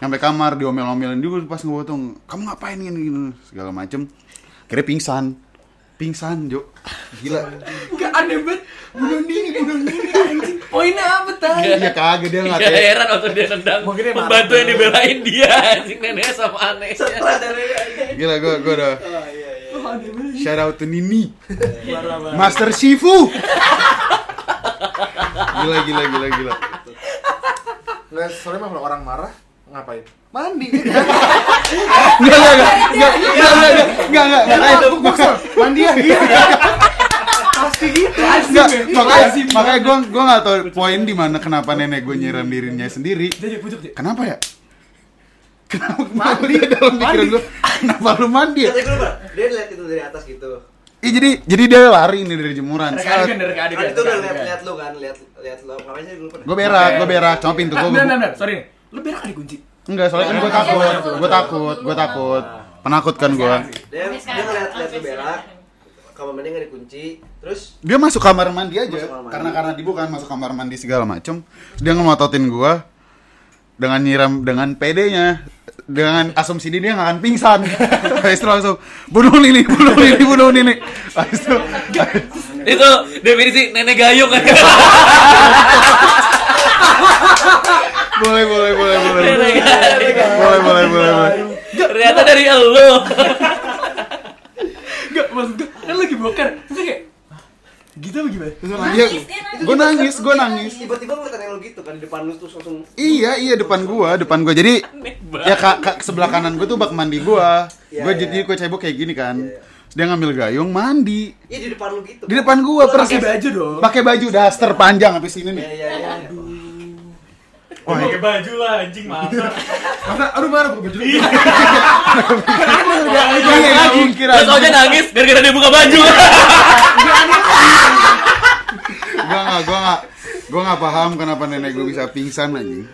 sampai kamar diomel-omelin juga pas ngegotong kamu ngapain gini, gini segala macem akhirnya pingsan pingsan Jo gila
Enggak aneh banget. Bunuh Nini, bunuh Nini anjing. Poinnya apa tadi?
iya kagak dia
Gak
ngatain
heran waktu dia nendang
Mungkin dia marah
pembantu yang
dulu.
dibelain dia anjing neneknya sama anehnya.
Setelah dari anjing.
gila gue gue udah
Oh iya iya.
shout out to Nini
Baru-baru.
Master Shifu gila gila gila gila
nggak soalnya mah kalau orang marah ngapain mandi
Enggak, enggak, enggak, enggak, enggak, enggak, enggak, enggak, enggak, Iya.
aku boxer mandi ya pasti gitu
Enggak, makanya, makanya gue gue nggak tahu poin di mana kenapa nenek gue nyiram dirinya sendiri.
Jadi pucuk sih.
Kenapa ya? Kenapa mandi dalam pikiran gue? Kenapa lu mandi? ya?
Kata gue lupa, dia lihat itu dari atas gitu.
Ih, jadi jadi dia lari nih dari jemuran.
Rek adegan, rek
Kan
adegan.
itu udah
rek
lihat
adegan.
lihat lu kan, lihat lihat lu. Makanya gue lupa.
Gue berak, gue berak, cuma pintu
Ah,
gue.
bentar, bentar, bentar. sorry nih. Lu berak kan dikunci.
Enggak, soalnya kan gue takut, gue takut, gue takut. Penakut kan gue.
Dia
Sampai
dia
sekarang,
ngeliat lihat lu
sampai
berak.
sekarang.
Kamar mandi nggak dikunci, terus
Dia masuk kamar mandi aja,
Masuk kamar mandi.
karena karena dibuka masuk kamar mandi segala macem. Terus Dia ngototin gue dengan nyiram dengan PD-nya dengan asumsi dia dia nggak akan pingsan.
(laughs)
Habis itu langsung bunuh Lili, bunuh Lili, bunuh Lili. Habis itu (laughs)
Itu definisi nenek gayung kan.
boleh boleh boleh boleh.
Nenek gayung.
Boleh boleh boleh boleh.
Ternyata dari elu.
Enggak, maksud gue kan lagi boker. Terus dia kayak "Hah? Gitu apa gimana?
Terus dia,
Nangis, dia nangis.
gue nangis, gue
Iya.
nangis.
tiba-tiba ngeliatin lo gitu kan di depan lu terus langsung
Iya, iya depan gua, depan gua. Jadi ya kak, kak sebelah kanan gua tuh bak mandi gua.
Iya,
gua
iya.
jadi gua cebok kayak gini kan.
Iya, iya.
Terus Dia ngambil gayung mandi.
Iya di depan lu gitu.
Di depan gua
Lu
persis.
pakai baju.
Baju dong.
Pakai baju daster panjang habis ini
Iya
nih.
iya iya.
Wah,
pakai baju lah anjing masa
Masa, aduh mana gue baju lu?
iya, iya, anjing, kira
Terus Oja nangis gara-gara dia buka baju.
Gua enggak, gua enggak. Gua enggak paham kenapa nenek gua bisa pingsan anjing.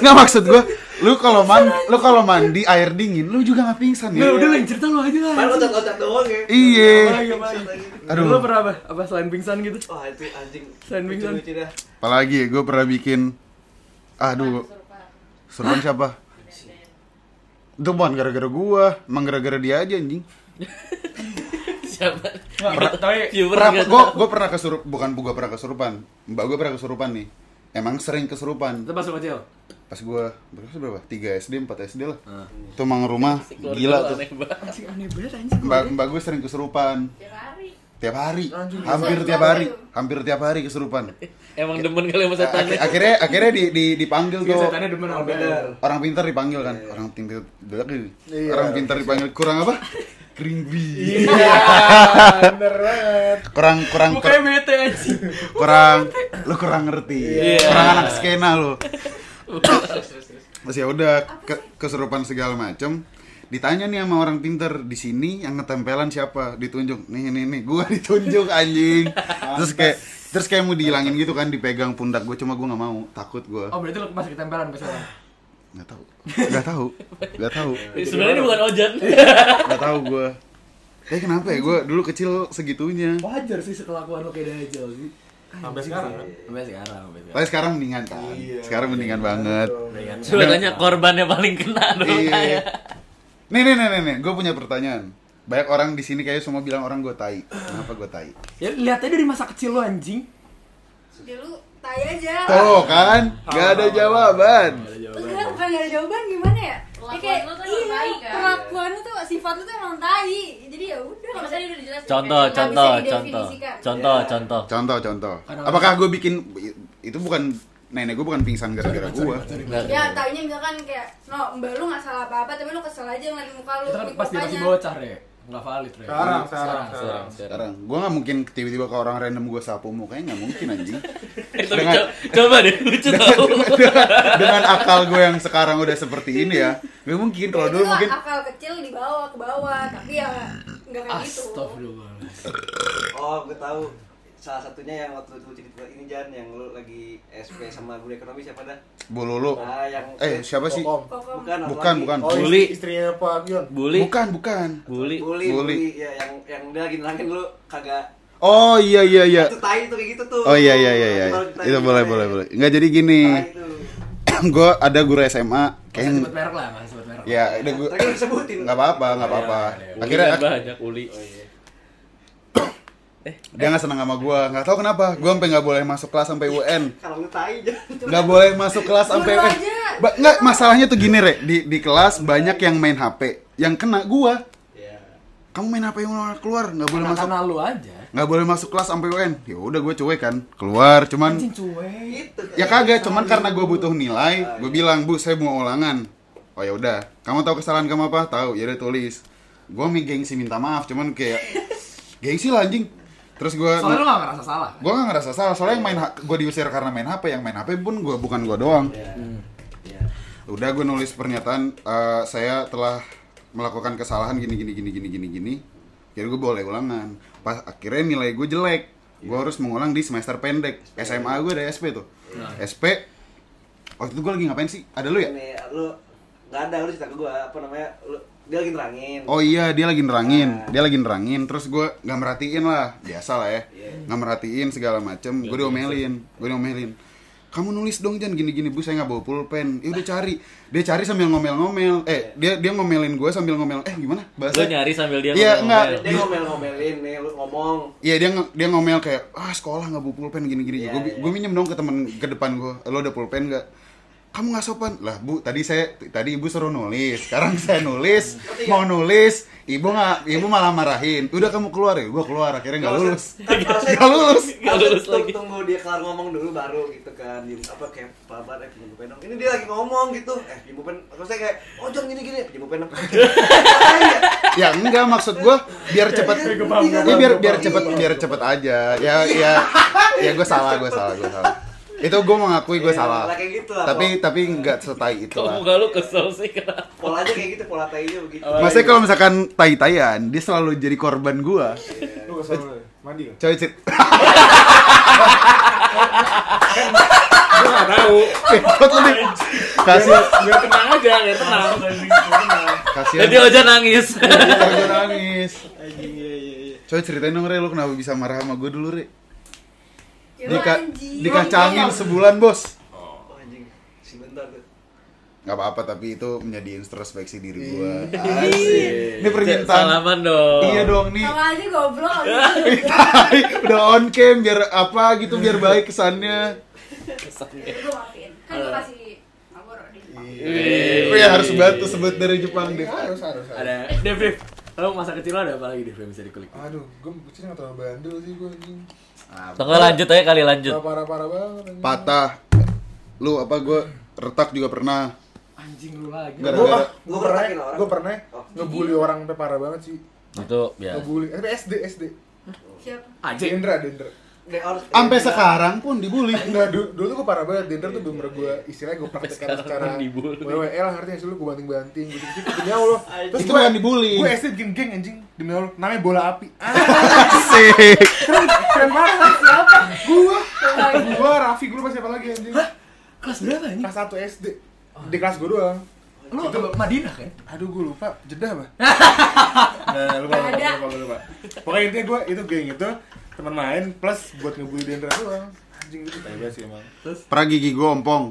Enggak maksud gua, lu kalau mandi, lu kalau mandi air dingin, lu juga nggak pingsan ya?
Nah, udah lah, yang cerita lo aja lah.
Kan otak-otak doang ya.
Iya.
Apalagi, apalagi.
Aduh.
Lo pernah apa? Apa selain pingsan gitu?
Wah itu anjing.
Sandwich,
Lucu-lucu dah.
Apalagi gue pernah bikin aduh seruan siapa? Itu bukan gara-gara gua, emang gara-gara dia aja anjing.
Siapa?
Nggak, tapi
Viewer
Pernah,
nggak?
gua, gua pernah kesurupan, bukan gua pernah kesurupan. Mbak gua pernah kesurupan nih. Emang sering kesurupan.
Itu pas lo kecil.
Pas gua berapa sih, berapa? 3 SD, 4 SD lah.
Ah.
Itu mang rumah
Keluarga
gila
lu
tuh.
aneh banget.
Anjing aneh banget anjing.
Mbak mbak gua sering kesurupan
Tiap hari.
tiap hari, hampir tiap hari, hampir tiap hari
(laughs)
kesurupan.
Emang demen kali sama setan.
Ak- akhirnya akhirnya di, di- dipanggil
Iya,
tuh
setannya demen sama bener.
orang pintar dipanggil kan
Iya.
orang pintar belak ini. orang pintar dipanggil kurang apa kringbi
Iya, Bener banget.
kurang kurang
Mukanya bete anjing.
kurang lu kurang ngerti kurang anak skena lu terus ya udah ke- keserupan segala macem ditanya nih sama orang pintar di sini yang ketempelan siapa ditunjuk nih nih nih gua (laughs) ditunjuk anjing terus kayak terus kayak mau dihilangin gitu kan dipegang pundak gua cuma gua nggak mau takut gua
Oh berarti lo masih ketempelan pas sekarang.
nggak tahu nggak tahu nggak tahu
Sebenarnya ini bukan Ojan.
Iya. nggak tahu gue Tapi kenapa ya gue dulu kecil segitunya
Wajar sih kelakuan lo kayak dajal sih.
sampai sekarang kan?
Sampai sekarang, ya? sampai sekarang.
Tapi sekarang mendingan kan Sekarang mendingan banget
Coba tanya korbannya paling kena dong.
Iya
ya.
kayak.
Nih nih nih nih, nih. gue punya pertanyaan Banyak orang di sini kayak semua bilang orang gue tai Kenapa gue tai?
Ya lihatnya dari masa kecil lo anjing.
Dulu tanya aja.
Tuh kan, gak ada jawaban
Terus gue pengen ada jawaban gimana ya? Ya
Kelakuan
kayak,
lu tuh
iya,
emang tai, kan?
perlakuan lu tuh sifat lu tuh emang tai. Jadi ya udah.
Ya, maksudnya udah dijelasin
Contoh,
kayak
Nggak
contoh,
bisa
contoh.
didefinisikan.
Contoh, contoh.
Contoh contoh Apakah gue bikin Itu bukan Nenek gue bukan pingsan gara-gara gue
Ya, taunya misalkan kayak, no, mbak lu gak salah apa-apa, tapi lu kesel aja ngeliat muka lu,
Itu kan
ngeliat
pas dia masih
mukanya.
bocah ya. Enggak valid, Re.
Sekarang, sekarang, sekarang.
Sekarang gue gak mungkin tiba-tiba ke orang random gue sapu mukanya gak mungkin anjing (laughs)
Eh, tapi
Dengan-
co- coba deh, lucu tau.
Dengan akal gue yang sekarang udah seperti ini ya Gak mungkin, kalau
Itu
dulu mungkin
akal kecil dibawa ke bawah, tapi ya nggak kayak gitu.
Astagfirullah.
Oh gue tahu. Salah satunya yang waktu itu cerita ini Jan yang lu lagi SP sama guru ekonomi siapa dah?
Bololo.
Nah, yang-
eh, siapa sih?
Kokom.
Kokom.
Bukan. satu
Bukan,
lagi.
bukan.
oh
Bully.
istri- istrinya Pak Gion
Iya,
Bully,
Bukan, bukan.
Bully,
bully.
Bully.
bully, ya yang yang dia lagi nerangin lu kagak
Oh iya iya iya.
itu tai tuh kayak gitu tuh.
Oh iya iya iya iya.
Baru kita
Itu
gitu,
boleh
ya.
boleh boleh. Enggak jadi gini. (clears throat)
Tai tuh.
gue ada guru SMA
Kayak
kayak
sebut merek lah, enggak sebut merek.
ya udah gue
Tadi lu sebutin.
nggak apa-apa nggak apa-apa
Akhirnya
akhirnya
banyak uli.
dia nggak senang sama gue nggak tahu kenapa gue sampai nggak boleh masuk kelas sampai UN
Kalau lu (laughs) tai Jan.
nggak boleh masuk kelas sampai
Guru
UN
aja.
Ba- nggak masalahnya tuh gini re di di kelas banyak yang main HP yang kena gue
Iya.
kamu main HP yang keluar nggak boleh
Karena
masuk
karena lu aja.
nggak boleh masuk kelas sampai UN ya udah gue cuek kan keluar cuman
Anjing cuek.
Gitu. kan.
ya kagak cuman karena gue butuh nilai gue bilang bu saya mau ulangan oh ya udah kamu tahu kesalahan kamu apa tahu ya udah tulis gue mi gengsi minta maaf cuman kayak gengsi lah anjing terus gue
Soalnya lu enggak ngerasa salah.
gue gak ngerasa salah soalnya yang main gue diusir karena main hp yang main hp pun gue bukan gue doang
Iya.
udah gue nulis pernyataan eh, saya telah melakukan kesalahan gini gini gini gini gini gini jadi gue boleh ulangan pas akhirnya nilai gue jelek gue harus mengulang di semester pendek SMA gue ada SP tuh SP waktu itu gue lagi ngapain sih ada lu ya
Nih, lu nggak ada lu cerita ke gua apa namanya? Lu dia lagi nerangin.
Oh iya, dia lagi nerangin, dia lagi nerangin. Terus gue nggak merhatiin lah, biasa lah ya, nggak merhatiin segala macem. Gue diomelin, gue diomelin. Kamu nulis dong Jan gini-gini bu, saya nggak bawa pulpen. Ya udah cari, dia cari sambil ngomel-ngomel. Eh dia dia ngomelin gue sambil ngomel. Eh gimana?
Lu
Bahasa?
nyari sambil dia
Iya, enggak.
Dia ngomel-ngomelin nih, lu
(laughs)
ngomong.
Iya dia nge- dia ngomel kayak ah sekolah nggak bawa pulpen gini-gini.
Iya,
gue
iya.
gue minjem dong ke temen ke depan gue. Lo ada pulpen nggak? kamu nggak sopan lah bu tadi saya tadi ibu suruh nulis sekarang (laughs) saya nulis
ya.
mau nulis ibu nggak ibu malah marahin udah kamu keluar ya gue keluar akhirnya nggak
Kalau
lulus
saya- kan kalau
(laughs)
saya-
Nggak lulus.
Nggak
kalau
lulus
saya
lagi.
Tunggu dia kelar ngomong dulu baru gitu kan. Diem, apa kayak pabar eh jemput penong. Ini dia lagi ngomong gitu. Eh jemput penong. Terus saya kayak oh jangan gini gini jemput
(laughs)
penong.
ya enggak maksud gue biar cepet
Iya,
ya,
gua paham, gua paham,
biar
gua
biar
paham.
cepet biar cepet aja ya ya ya gue salah gue salah gue salah itu gue mengakui gue
Iya,
salah
lah kayak gitu lah,
tapi
Pak.
tapi nggak setai itu
Kok
lah
muka lu kesel sih kenapa?
Polanya kayak gitu pola tainya begitu.
Oh.
Maksudnya kalau misalkan tai-taian, dia selalu jadi korban gua.
Lu kesel lu. Mandi ya? lu.
Coy, Cit. (laughs)
Gua enggak tahu.
Ikut Eh, lu nih. Kasih
Biar tenang aja, biar tenang.
kasihan.
Jadi Oja nangis. (laughs)
Gua nangis.
Anjing iya iya iya.
Coy, ceritain dong Re, lu kenapa bisa marah sama gua dulu, Re?
Ya,
Dika
anjing.
dikacangin sebulan, Bos.
Oh anjing. Sebentar tuh.
Gak apa-apa, tapi itu menjadi introspeksi diri gua.
Asik.
Ini permintaan.
Salaman dong.
Iya dong nih. (laughs)
Sama aja goblok.
Iya. Tai, Udah on cam biar apa gitu biar baik kesannya.
Gue maafin. Kan
Iya.
gue kasih ngabur di Jepang.
Eh, ya harus banget tuh sebut dari Jepang deh.
Harus harus. harus.
Ada Dev, Dev. Lo masa kecil lo ada apa lagi Dev yang bisa dikulik?
Aduh, gue bucin nggak terlalu bandel sih gue anjing.
Tunggu lanjut aja kali lanjut.
Parah-parah banget. anjing.
Patah. Lu apa gua retak juga pernah.
Anjing lu lagi.
Gue
Gara-gara
gue
Gua
pernah
retakin orang.
gue pernah ya?
Oh.
ngebully orang sampai parah banget sih.
Iya.
Itu ya. biasa.
Ngebully. Eh SD SD.
Siapa?
Anjing.
Dendra Dendra.
Deh, harus-
sampai sekarang pun (laughs) dibully.
Enggak, dulu, dulu gue parah banget, Dender tuh bener gue istilahnya
(laughs)
gue praktekkan
Sekarang
secara
pun dibully.
WWE lah ngerti gak sih lu gue banting-banting gitu gitu demi (laughs) Allah
Terus itu bukan dibully.
gue SD bikin geng anjing demi Allah namanya bola api ah (laughs)
Asik.
keren keren banget siapa gue gue Raffi gue lupa siapa lagi anjing
Kelas berapa ini?
kelas 1 SD di kelas gue doang
Lo ke Madinah kan?
Oh. aduh gue lupa jeda apa (laughs) nah, lupa, lupa, lupa, lupa, lupa, pokoknya intinya gue itu geng itu teman main plus buat ngebully Dendra doang anjing itu tai banget sih emang
Pra gigi gue ompong.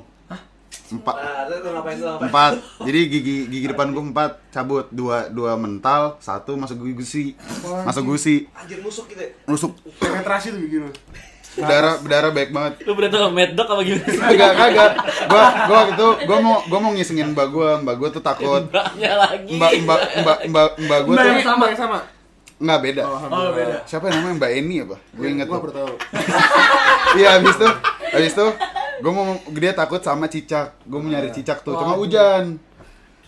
Empat.
Nah, lu tuh ngapain tuh ngapain?
Empat. Jadi gigi gigi depan gue empat cabut. Dua dua mental, satu masuk gigi gusi. Masuk gusi.
Anjir musuk gitu. ya.
Nusuk.
penetrasi tuh begini loh
Berdarah berdarah baik banget.
Lu bener tuh Mad Dog apa gimana sih?
Kagak kagak. Gua gua waktu itu gua mau gua mau ngisengin mbak gua. Mbak gua tuh takut.
Mbaknya lagi. Eh,
Mbak mbak mbak mbak mbak gua tuh
yang sama yang sama
nggak beda.
Oh beda.
Siapa yang namanya Mbak Eni apa? Gue inget
gue
tuh.
bertahu
Iya abis itu, abis itu gue mau dia takut sama cicak. Gue mau nyari cicak tuh, cuma hujan.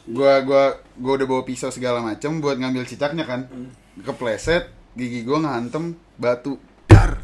Gua gua gua udah bawa pisau segala macem buat ngambil cicaknya kan.
Hmm.
Kepleset, gigi gua ngehantem batu dar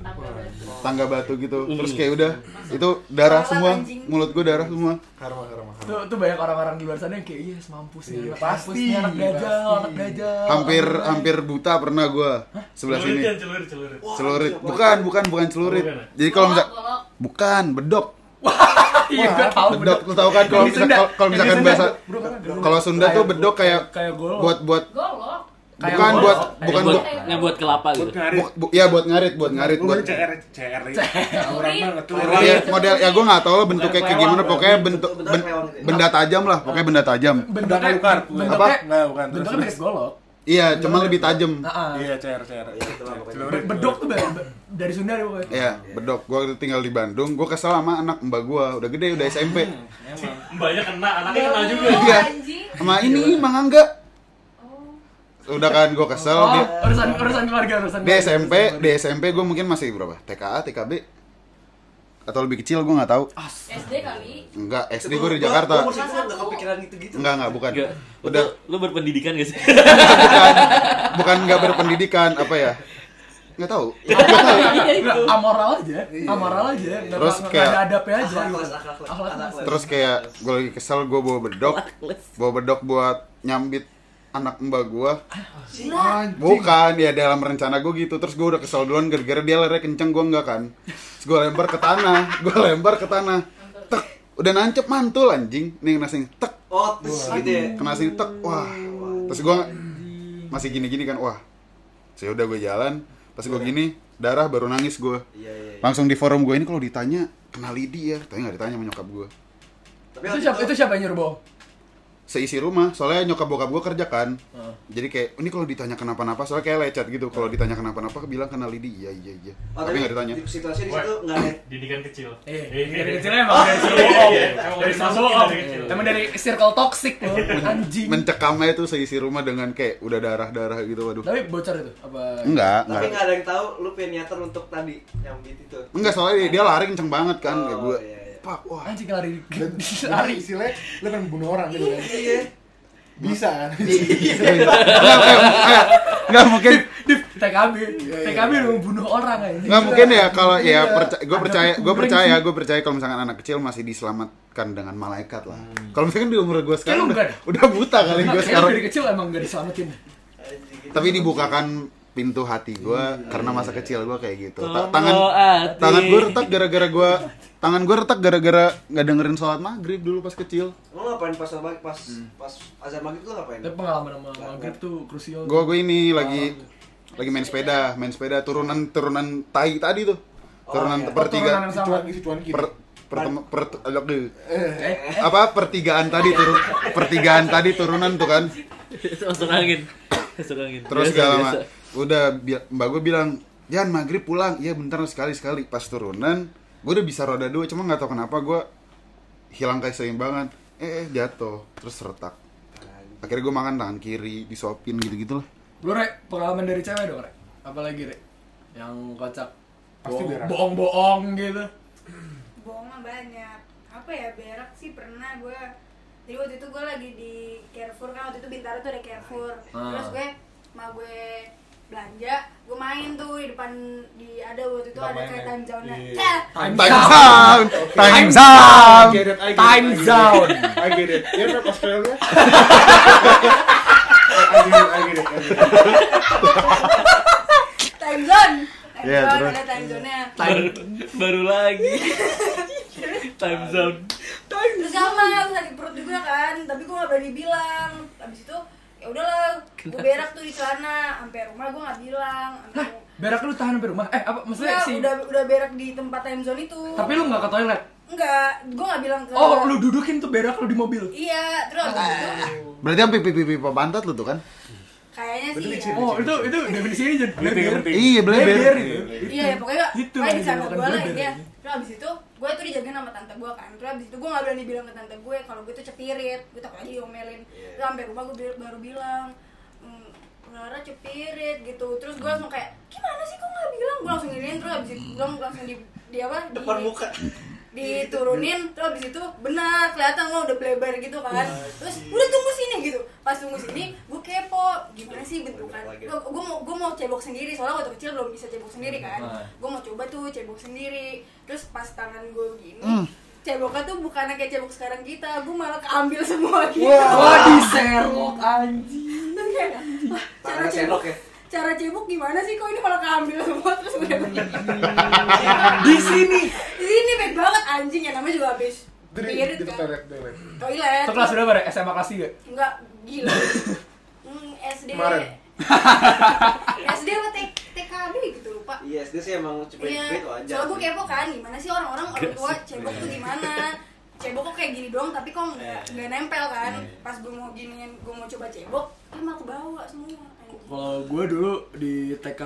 tangga batu gitu
Hmm.
terus kayak udah itu darah semua
Anjing.
mulut gue darah semua
karma karma karma
Tuh, tuh banyak orang-orang di luar sana yang kayak, iya mampus nih,
Iya,
anak mampus
pasti,
nih, anak dajal,
pasti.
anak dajal
hampir hampir buta pernah gua sebelah sini
Celurit, ya, celurit, celurit. iya.
Wah,
celurit
siapa?
bukan bukan bukan celurit
Bukan, ya?
jadi kalau misal
Golok, golok.
bukan bedok
(laughs) Iya, gue tau
bedok lu tahu kan kalau
Yang di
misal
Sunda.
kalau- kalau
Yang di
misalkan
Sunda.
bahasa
bro kan ada
kalau Sunda tuh bedok kayak
Kayak golok.
buat buat
Golok.
Kayak
bukan
golok.
buat
Kayak
bukan
buat
buat
yang buat kelapa gitu.
bu- bu- ya buat ngarit buat ngarit
Lu
buat
baca CR CR ya. Orang banget tuh.
ya, model ya gue nggak tahu lah bentuknya kayak
Kelewat,
gimana pokoknya bentuk
Bentuk
ben-
kelewat gitu.
benda tajam lah pokoknya benda tajam
Udah
Bentuknya,
ngelukar.
Apa?
bentuknya,
Nggak, bukan. Terus,
bentuknya
terus.
mirip golok
iya cuma lebih tajam
Nah,
Iya CR CR.
itu lah pokoknya.
Celurit.
bedok tuh be- be- dari Sunda deh pokoknya
Iya, bedok. Gue tinggal di Bandung, gue kesel sama anak mbak gue, udah gede, udah
Oh,
SMP.
Mbaknya kena, anaknya kena juga.
Golok,
Iya.
anjing.
Sama ini, Mang Angga. Udah kan, gue kesel,
Oh,
dia,
urusan, urusan keluarga, urusan
di
keluarga.
SMP di SMP gue mungkin masih berapa TKA TKB atau lebih kecil gue nggak tahu
SD kali.
enggak SD gue di
Gua-
Jakarta
Gua masih gak kepikiran gitu-gitu.
enggak enggak bukan
Enggak.
udah
Lu berpendidikan
(laughs)
gak sih?
bukan bukan enggak berpendidikan apa ya nggak tahu
Nggak, Iya, amoral aja, amoral aja Nggak-
Terus
nggak
kayak-
ada adabnya aja
Akhlak, akhlak, akhlak.
Akhlak, akhlak.
Akhlak.
terus kayak gue lagi kesel gue bawa bedok bawa bedok buat nyambit anak mbak gue bukan ya dalam rencana gue gitu terus gue udah kesel duluan gara-gara dia lari kenceng gue enggak kan terus gue lempar ke tanah gue lempar ke tanah tek udah nancep mantul anjing nih nasi tek
Oh, terus gitu ya.
kena sini tek wah terus gua masih gini gini kan wah saya udah gue jalan pas gue gini darah baru nangis gue
Iya, iya. iya.
langsung di forum gue ini kalau ditanya kenal Lidi ya tapi nggak ditanya sama nyokap gue
Tapi
Itu siapa, itu siapa yang nyuruh bohong?
seisi rumah soalnya nyokap bokap gue kerja kan jadi kayak ini kalau ditanya kenapa-napa soalnya kayak lecet gitu kalau ditanya kenapa-napa bilang kenal Lidi iya iya iya
Oh,
tapi nggak ditanya
di situasi di situ nggak ada
Didikan kecil.
Eh,
Eh,
dari
eh,
kecil
eh.
emang dari
Iya,
sono.
iya, iya. Emang
Dari
udah
sono.
dimasukin dari kecil.
Emang dari circle toxic loh, anjing.
(laughs) mencekamnya itu seisi rumah dengan kayak udah darah-darah gitu waduh
Tapi bocor itu apa?
enggak
tapi
enggak
nggak ada yang tahu lu punya niatan untuk tadi yang beat itu
enggak soalnya dia, dia lari kenceng banget kan
Oh,
kayak gue
iya, iya.
pak wah
Anjing lari
Dan
lari.
lari istilahnya lu pengen bunuh orang gitu kan.
iya
Bisa kan?
Enggak, enggak, enggak. Enggak mungkin
Dip, TKB, TKB udah membunuh orang anjing.
Nggak mungkin ya kalau
Iya.
ya gue
Ada
percaya gue
kuburan
percaya
sih.
gue percaya kalau misalkan anak kecil masih diselamatkan dengan malaikat lah. Kalau misalkan di umur gue sekarang
lu
udah,
nggak
udah buta kali
Nah,
gue
kayaknya
sekarang.
dari kecil emang gak diselamatin.
Anjing, gitu.
Tapi dibukakan pintu hati gue karena masa kecil gue kayak gitu. Ta-
Tolong
tangan
hati.
tangan gue retak gara-gara gue tangan gue retak gara-gara nggak dengerin sholat maghrib dulu pas kecil.
lu ngapain pas maghrib pas
Hmm.
pas azan maghrib lu ngapain
Tapi pengalaman sama maghrib tuh krusial.
Gue gue ini lagi lagi main sepeda, main sepeda turunan turunan tai tadi tuh. Turunan
iya.
per tiga
turunan yang
Si
sama.
cuan, si cuan gitu.
per pertem- per- aduh.
Eh,
apa pertigaan tadi turun pertigaan tadi turunan tuh kan
Masuk angin. Masuk angin.
terus
Biasa,
gak lama
biasa.
udah bi- mbak gue bilang Jan maghrib pulang iya bentar sekali sekali pas turunan gue udah bisa roda dua cuma nggak tahu kenapa gue hilang keseimbangan eh eh, jatuh terus retak akhirnya gue makan tangan kiri disuapin gitu gitulah
Lu Rek, pengalaman dari cewek dong Rek? Apalagi Rek? Yang kocak
Pasti
Bohong-
berak.
Bohong-bohong gitu
bohongan banyak apa ya berak sih pernah gue jadi waktu itu gue lagi di Carrefour kan waktu itu Bintaro tuh ada Carrefour
Ah.
terus gue ma gue belanja gue main tuh di depan di ada waktu itu ada
ya?
kayak time zone
Iya.
Eh,
time out time out
I get it, I get it,
Time
I get it.
zone.
I get it. You're from Australia. I get it, I get it, I get it.
time zone time
Iya,
zone
terus.
ada time zone nya
Baru, baru lagi. Time zone.
terus sama aku sakit perut juga kan tapi gue gak berani bilang abis itu ya udahlah gue berak tuh di celana sampai rumah gue nggak bilang sampai
Berak lu tahan sampai rumah? Eh apa? Maksudnya
Enggak,
sih?
udah udah berak di tempat time zone itu
Tapi lu gak ke toilet?
Enggak, gue gak bilang ke
Oh lu Ah. dudukin tuh berak lu di mobil?
Iya, terus abis itu
berarti yang pipi pipi pantat lu tuh kan
Kayaknya sih
Berarti
ya
licin.
Oh itu itu definisinya jadi
Berarti
bleber.
berarti.
iya
Bleber
bleber
itu
Iya, ya, pokoknya
Itu
pokoknya
yang
di sana
dinamakan
gue lah
bleber.
dia Terus abis itu, gue tuh dijagain sama tante gue kan Terus abis itu gue gak berani bilang ke tante gue Kalau gue tuh cepirit, gue takut aja diomelin
Iya.
Terus sampai rumah gue baru bilang "Hmm, Rara cepirit gitu Terus gue langsung kayak, gimana sih kok gak bilang Gue langsung giniin, terus abis itu gue langsung di, di apa? di-
depan muka
diturunin terus abis itu benar kelihatan lo udah bleber gitu kan terus udah tunggu sini gitu pas tunggu sini gue kepo gimana sih bentukan gue mau gue mau cebok sendiri soalnya waktu kecil belum bisa cebok sendiri kan gue mau coba tuh cebok sendiri terus pas tangan gue gini ceboknya tuh bukan kayak cebok sekarang kita gue malah keambil semua gitu
Wah di serok anjing
Terus kayak, "Wah,
Tangannya
cara cebok
sendok ya?"
cara cebok gimana sih kok ini malah keambil semua terus udah
Di sini
ini bad banget anjing ya namanya juga habis
Itu di-
pirit
Iya,
di ya.
kan
toilet, toilet.
toilet
Itu kelas berapa Rek? SMA kelas
Enggak, gila. Hmm, SD. (laughs)
Kemarin.
SD apa T- TKB gitu lupa.
iya SD sih emang cepet cepet
Iya,
aja
soalnya gue kepo kan, gimana sih orang-orang orang tua cebok tuh gimana Cebok kok kayak gini doang, tapi kok nggak nggak nempel kan Pas gue mau giniin, gue mau coba cebok, ya emang kebawa semua
3? Kalau gue dulu di TK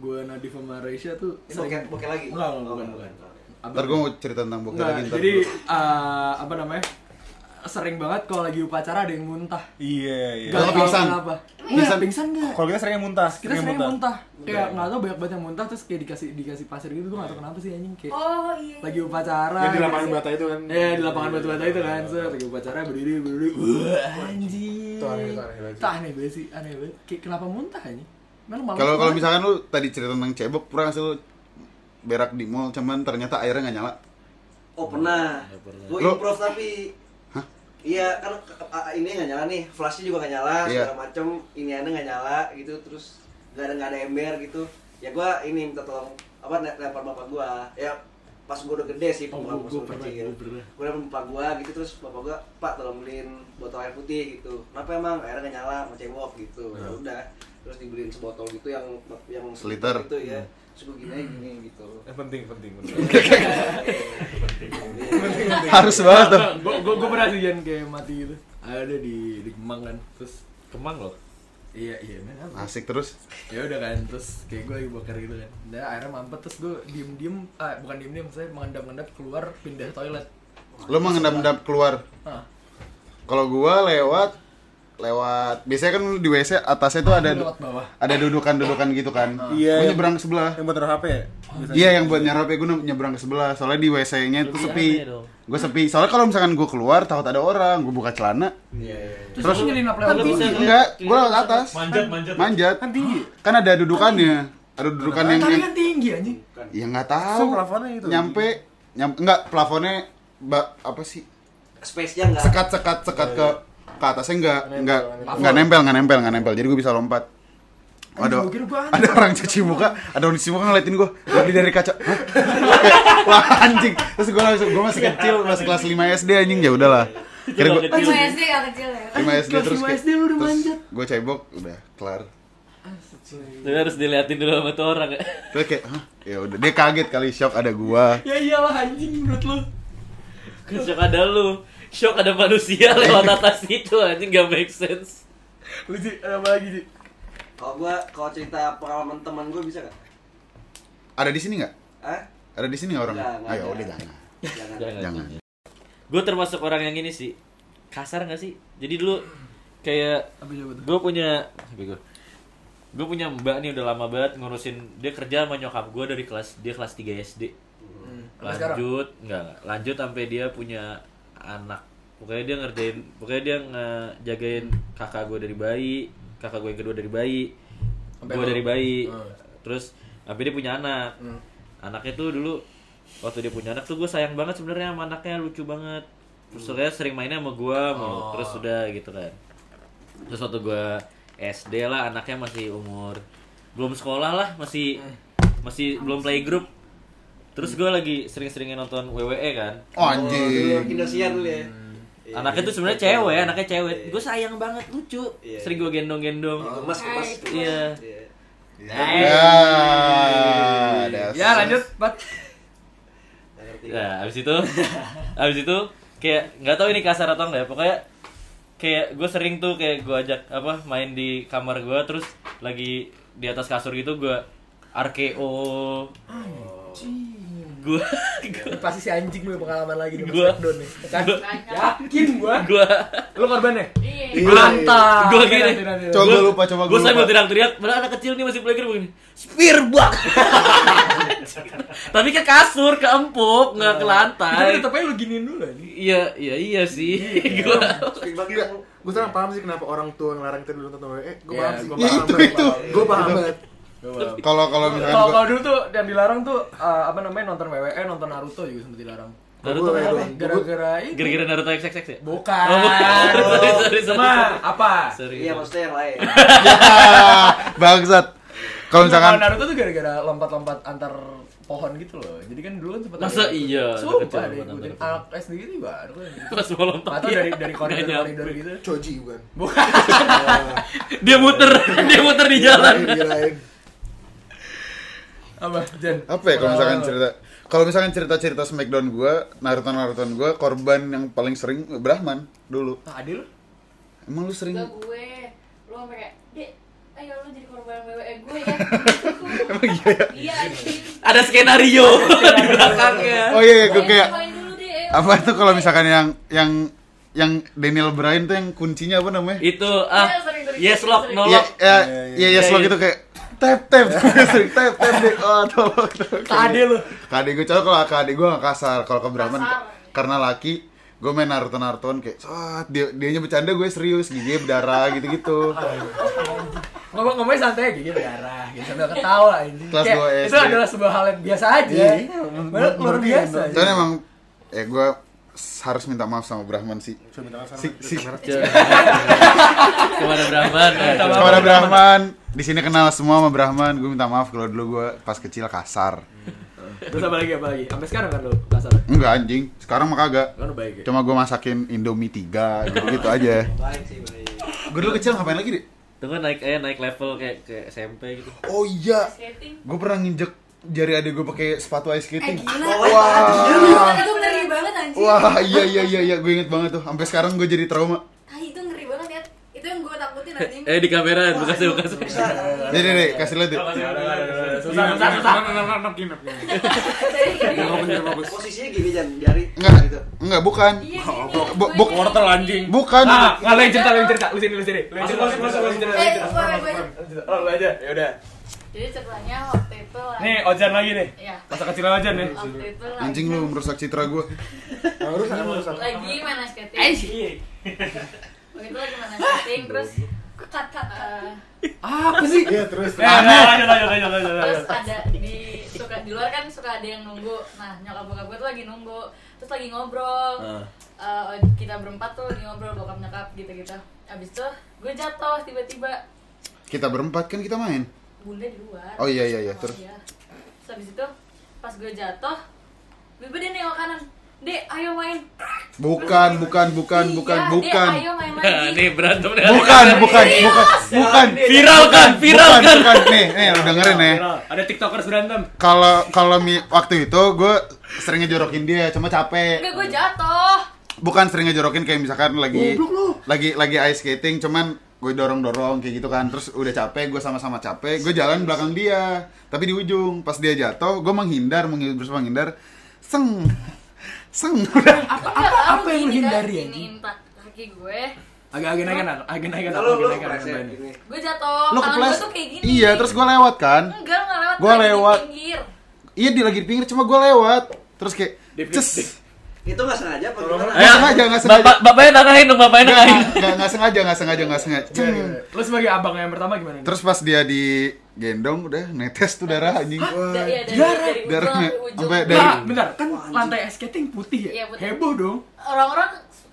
gue Nadif sama Raisya tuh
Ini bokeh- bokeh lagi? Oh,
Enggak, enggak, bukan, bukan
ntar gue mau cerita tentang bokeh
Enggak,
lagi ntar
jadi
dulu.
eh, apa namanya? Sering banget kalau lagi upacara ada yang muntah.
Iya, iya.
Kalau
Gak tau
pingsan.
kenapa.
Emang
Enggak,
ya?
pingsan enggak.
Kalau kita seringnya muntah,
Kita sering muntah. Kayak enggak tau banyak banget yang muntah terus kayak dikasih dikasih pasir gitu gue enggak tau kenapa sih anjing kayak
Oh iya
lagi upacara.
Yang di lapangan bata itu kan.
Ya di lapangan batu-bata itu kan, set lagi upacara berdiri berdiri. Wah, anjing.
Itu aneh, itu aneh banget.
Itu aneh banget sih, aneh banget. Kayak kenapa muntah anjing? Emang malam
Kalau kalau
kemana?
misalkan lu tadi cerita tentang cebok, pernah nggak sih lu berak di mall cuman ternyata airnya nggak nyala.
oh pernah
Ya,
gue
Lu-
improve tapi Iya kan ke- ke- a- ini nggak nyala nih, flashnya juga nggak nyala,
Iya.
segala macem ini aneh nggak nyala gitu, terus nggak ada nggak ada ember gitu. Ya gua ini minta tolong apa ne- lempar bapak gua. Ya pas gua udah gede sih, bukan
Oh, gua-
pas
gua
gua
pernah,
kecil.
gua pernah.
Gua lempar bapak gua gitu terus bapak gua pak tolong beliin botol air putih gitu. Kenapa emang airnya nggak nyala, mau cebok gitu.
Iya.
Ya udah terus dibeliin sebotol gitu yang yang
Seliter.
gitu ya. Terus gua
Hmm.
gini gini gitu.
Eh,
Yang penting, penting. penting.
(laughs)
(laughs)
Harus banget tuh.
Gue gue pernah sih Jan, kayak mati gitu. ada di di Kemang kan terus
Kemang loh.
iya iya men apa?
Asik terus.
ya udah kan terus kayak gue lagi bakar gitu kan nah akhirnya mampet terus gue diem diem ah bukan diem diem saya mengendap endap keluar pindah toilet
Lo mengendap-endap keluar.
Hah.
Kalau gua lewat lewat biasanya kan di WC atasnya tuh ada
lewat bawah.
ada dudukan-dudukan gitu kan.
Iya,
Gua
iya.
nyebrang ke sebelah.
Yang buat taruh HP ya?
Iya yang buat nyerap ya gue nyebrang ke sebelah soalnya di WC-nya itu
Lebih
sepi.
aneh dong.
Gue sepi. Soalnya kalau misalkan gue keluar takut ada orang, gue buka celana.
Iya, terus, terus nyelinap
Kan
lewat
Tapi bisa ngeliat-
Enggak, gue lewat atas.
Manjat, manjat.
Manjat. Kan tinggi. Kan ada dudukannya. Ada dudukan yang,
tadi
yang
kan tinggi anjing
ya nggak
So,
tahu.
plafonnya itu.
Nyampe nyampe enggak plafonnya ba, apa sih?
Space-nya enggak.
Sekat-sekat sekat ke ke atasnya enggak enggak
nempel.
enggak nempel, enggak nempel, enggak nempel. Jadi gue bisa lompat. Ada,
gua kira banyak.
ada orang cuci muka, ada orang cuci muka ngeliatin gue Lagi dari kaca Hah? (laughs) Kayak, Wah anjing Terus gue langsung, gue masih kecil, masih kelas 5 SD anjing ya udahlah Kira gue
Lu SD gak kecil ya?
5 SD
Kelas
terus
5
kayak,
SD lu udah
terus
manjat.
Gue cebok, udah kelar
Tapi harus diliatin dulu sama tuh orang (laughs) ya.
Terus kayak, hah? Ya udah, dia kaget kali shock ada gua.
ya iyalah anjing menurut lu
Shock ada lu. Shock ada manusia lewat atas itu anjing gak make sense.
lu Ji, ada apa lagi Ji?
Kalau gua kalau cerita pengalaman teman gua bisa enggak?
Ada di sini nggak?
Hah?
Ada di sini nggak orang?
Nggak, nggak
Ayo
ada.
udah jangan.
Jangan.
Jangan.
Gue termasuk orang yang ini sih. Kasar gak sih? Jadi dulu kayak
apa coba tuh
gue punya gue punya mbak nih udah lama banget ngurusin dia kerja sama nyokap gue dari kelas dia kelas 3 SD
Sampai Hmm, sekarang?
lanjut enggak enggak. lanjut sampai dia punya anak pokoknya dia ngerjain pokoknya dia ngejagain kakak gue dari bayi kakak gue yang kedua dari bayi
Sampai
gue
lu-
dari bayi
Hmm.
terus sampai dia punya anak anaknya tuh dulu waktu dia punya anak tuh gue sayang banget sebenarnya sama anaknya lucu banget terus
Hmm.
dia sering mainnya sama gue
Oh.
mau terus udah gitu kan terus waktu gue SD lah anaknya masih umur belum sekolah lah masih masih belum playgroup terus gue lagi sering-seringin nonton WWE kan
Oh
Oh, dulu
anjing.
Indosiar dulu ya.
Hmm.
Iya.
anaknya tuh sebenarnya cewek anaknya cewek gue sayang banget lucu
Iya. Oh,
sering gue gendong-gendong
Gemas, gemas. gemas.
Iya.
Iya.
Ya, dasar.
ya lanjut pat
Nggak ngerti.
Iya.
Nah, abis itu, abis itu kayak nggak tahu ini kasar atau enggak ya. Pokoknya kayak gue sering tuh kayak gue ajak apa main di kamar gue terus lagi di atas kasur gitu gue RKO (laughs) gue
Ini pasti si anjing lu pengalaman lagi di
Gua-
Smackdown nih kan
gua-
yakin gua
gue
lu korbannya
Iya.
mantap
gue gini
Nanti, nanti, nanti.
Coba gua lupa, coba gua
gue sambil
lupa.
teriak-teriak padahal anak kecil nih masih pelajar begini spear bak tapi ke kasur ke empuk nggak ke lantai
tapi tetep aja lu giniin dulu anjing
iya iya iya sih gue
Speak back
Iya.
Enggak,
dong.
gue Iya. sekarang paham sih kenapa orang tua ngelarang kita dulu nonton WWE Gue
Iya,
paham sih
gua
Ya,
paham,
itu
gua
itu.
paham.
Gue paham banget
Kalau kalau misalkan
Kalau
gua
kalau dulu tuh yang dilarang tuh eh, apa namanya nonton WWE, nonton Naruto juga sempat dilarang.
Naruto
Gua-
kenapa?
gua-
Gara-gara itu.
Gara-gara Naruto XXX ya?
Bukan.
Oh, bukan. Sorry, sorry, sorry.
Cuma apa?
Sorry.
Iya, maksudnya yang
(laughs)
lain.
Ah, bangsat. Kalau misalkan
Kalau Naruto tuh gara-gara lompat-lompat antar pohon gitu loh. Jadi kan dulu kan sempat
Masa
ada-
iya? Kecil
Sumpah
lompat
ada ikutin
antar
anak SD gitu juga ada tuh yang (laughs) gitu.
Pas mau lompat.
Atau
iya.
dari dari
Nggak
koridor-koridor
nyampe.
gitu.
Choji bukan
Bukan.
Dia muter, (laughs) dia muter di jalan.
Dia lain
Apa? Jen. Eh,
apa ya kalau misalkan cerita kalau misalkan cerita-cerita Smackdown gua, Naruto Naruto gua korban yang paling sering Brahman dulu.
Ah, adil.
Emang lu sering
Gak gue, lu sampe kayak, Dek, ayo lu jadi korban WWE gue ya
Emang iya ya?
Iya, anjing.
Ada skenario di belakangnya.
Oh iya, iya gua kayak
Ayo, cobain dulu, Dek, Eh, ayo.
apa tuh kalau misalkan yang yang yang Daniel Bryan tuh yang kuncinya apa namanya?
Itu ah
Iya, sering, sering,
yes
sering,
lock
sering.
no
Iya,
lock.
iya,
Iya,
iya,
iya,
iya, slow
iya.
gitu kayak tap tap sering tap tap deh. Oh, tolong. tolong.
Tadi lu.
KD gue coba kalau KD gue gak kasar kalau ke Brahman
Kasar.
karena laki gue main Naruto Narutoan kayak "Sot." dia dianya bercanda gue serius giginya berdarah
(laughs)
gitu gitu
Ngomong-ngomongnya santai gigit darah gitu sambil ketawa anjing.
Kelas
Kayak
dua
Itu
SD.
adalah sebuah hal yang biasa aja.
Iya, iya.
Menurut luar
Menurut
biasa.
dia,
cuman emang eh gue s- harus minta maaf sama Brahman sih
Coba minta maaf
si
sama
si
Kemana berapa?
kepada Brahman di sini kenal semua sama Brahman gue minta maaf kalau dulu gue pas kecil kasar
Terus apa lagi apa lagi? Sampai sekarang kan lu kasar.
enggak anjing sekarang mah kagak
Kan lu baik ya.
cuma gue masakin Indomie tiga gitu
(laughs)
gitu aja
Baik sih, baik.
gue dulu kecil ngapain lagi deh
Tunggu naik eh naik level kayak ke SMP gitu.
oh iya
Skating.
gue pernah nginjek jari adik gue pakai sepatu ice
Eh
skating
gila,
Wah.
Gila, itu ngeri banget anjing
Wah, iya iya iya iya, gue inget banget tuh. Sampai sekarang gue jadi trauma.
Tai ya.
diliatin anjing
Eh di kamera,
Iya,
bekasnya bekasnya.
Iya. Nih nih nih, kasih lihat.
Apa
Ya,
sih?
Susah, susah, susah.
Jadi kayak-
Posisinya gini Jan, jari
Enggak,
gitu.
enggak bukan.
Iya,
Bok,
gini.
bok,
Gua
bok.
ini.
Wortel
anjing.
Bukan.
Ah, nggak lain cerita, lain cerita. Lu sini, lu sini. Lain cerita,
Masuk, masuk,
lain cerita,
Eh,
lain cerita.
gua- gua-
Lain cerita. Oh, lu aja. Ya udah.
Jadi ceritanya waktu itu lah.
Nih, Ojan lagi nih.
Iya.
Ya.
Masa kecil Ojan ya.
Waktu itu lah.
Anjing lu merusak citra gua.
Harus ada urusan.
Lagi main skating. Waktu itu lagi main skating terus cut cut eh,
Apa sih?
Iya, terus.
Nah,
Eh, lanjut, lanjut, lanjut, lanjut,
terus
lanjut.
ada di suka di luar kan suka ada yang nunggu nah nyokap bokap gue tuh lagi nunggu terus lagi ngobrol
Ah.
Eh, kita berempat tuh lagi ngobrol bokap nyokap gitu gitu abis itu gue jatuh tiba-tiba
Kita berempat kan kita main.
bunda di luar
Oh, iya, iya, iya.
Sama
Terus?
dia. terus abis itu pas gue jatuh tiba dia nengok kanan dek ayo main
Bukan, bukan, bukan, bukan,
Iya,
bukan.
Dek, ayo main
Nah, (laughs)
lagi
nih berantem nih.
Bukan, bukan, bukan, bukan.
Viralkan,
Bukan,
viralkan.
bukan. Nih, nih lu dengerin ya.
Ada tiktokers berantem.
Kalau kalau mi- waktu itu gue sering ngejorokin dia, cuma capek.
enggak gue jatuh
Bukan sering ngejorokin kayak misalkan lagi lagi lagi ice skating, cuman gue dorong-dorong kayak gitu kan. Terus udah capek, gue sama-sama capek, gue jalan belakang dia. Tapi di ujung pas dia jatuh, gue menghindar, menghindar, berusaha menghindar. Seng. Seng udah.
apa apa
apa yang ya? lu hindari, anjing?
kaki gue
Agak agak naik kanan, agak naik kanan,
Lalu
agak
lu
naik kan, kanan.
kepleset
bener.
gini.
gue jatuh
Lo
tangan
keples.
gue tuh kayak gini
Iya, terus gue lewat kan.
enggak enggak lewat
Gua
lagi di
lewat.
pinggir
Iya di lagi di pinggir cuma gue lewat terus kayak
Dip, dip,
ces
dip.
Itu nggak sengaja apa gimana?
Eh.
Nggak sengaja nggak sengaja
Bapak, bapaknya nangahin dong, bapaknya
nggak
nangahin.
nggak- nggak sengaja nggak sengaja nggak sengaja
Iya,
Ceng.
Lu sebagai abang yang pertama gimana? nih?
terus pas dia digendong udah netes tuh darah anjing
Da- iya, dari,
Jarang.
dari ujung
Jarang ya?
sampai ujung
Sampai dari-
Nah, bentar, kan lantai ice skating putih
Iya,
ya?
putih.
Heboh dong.
orang-orang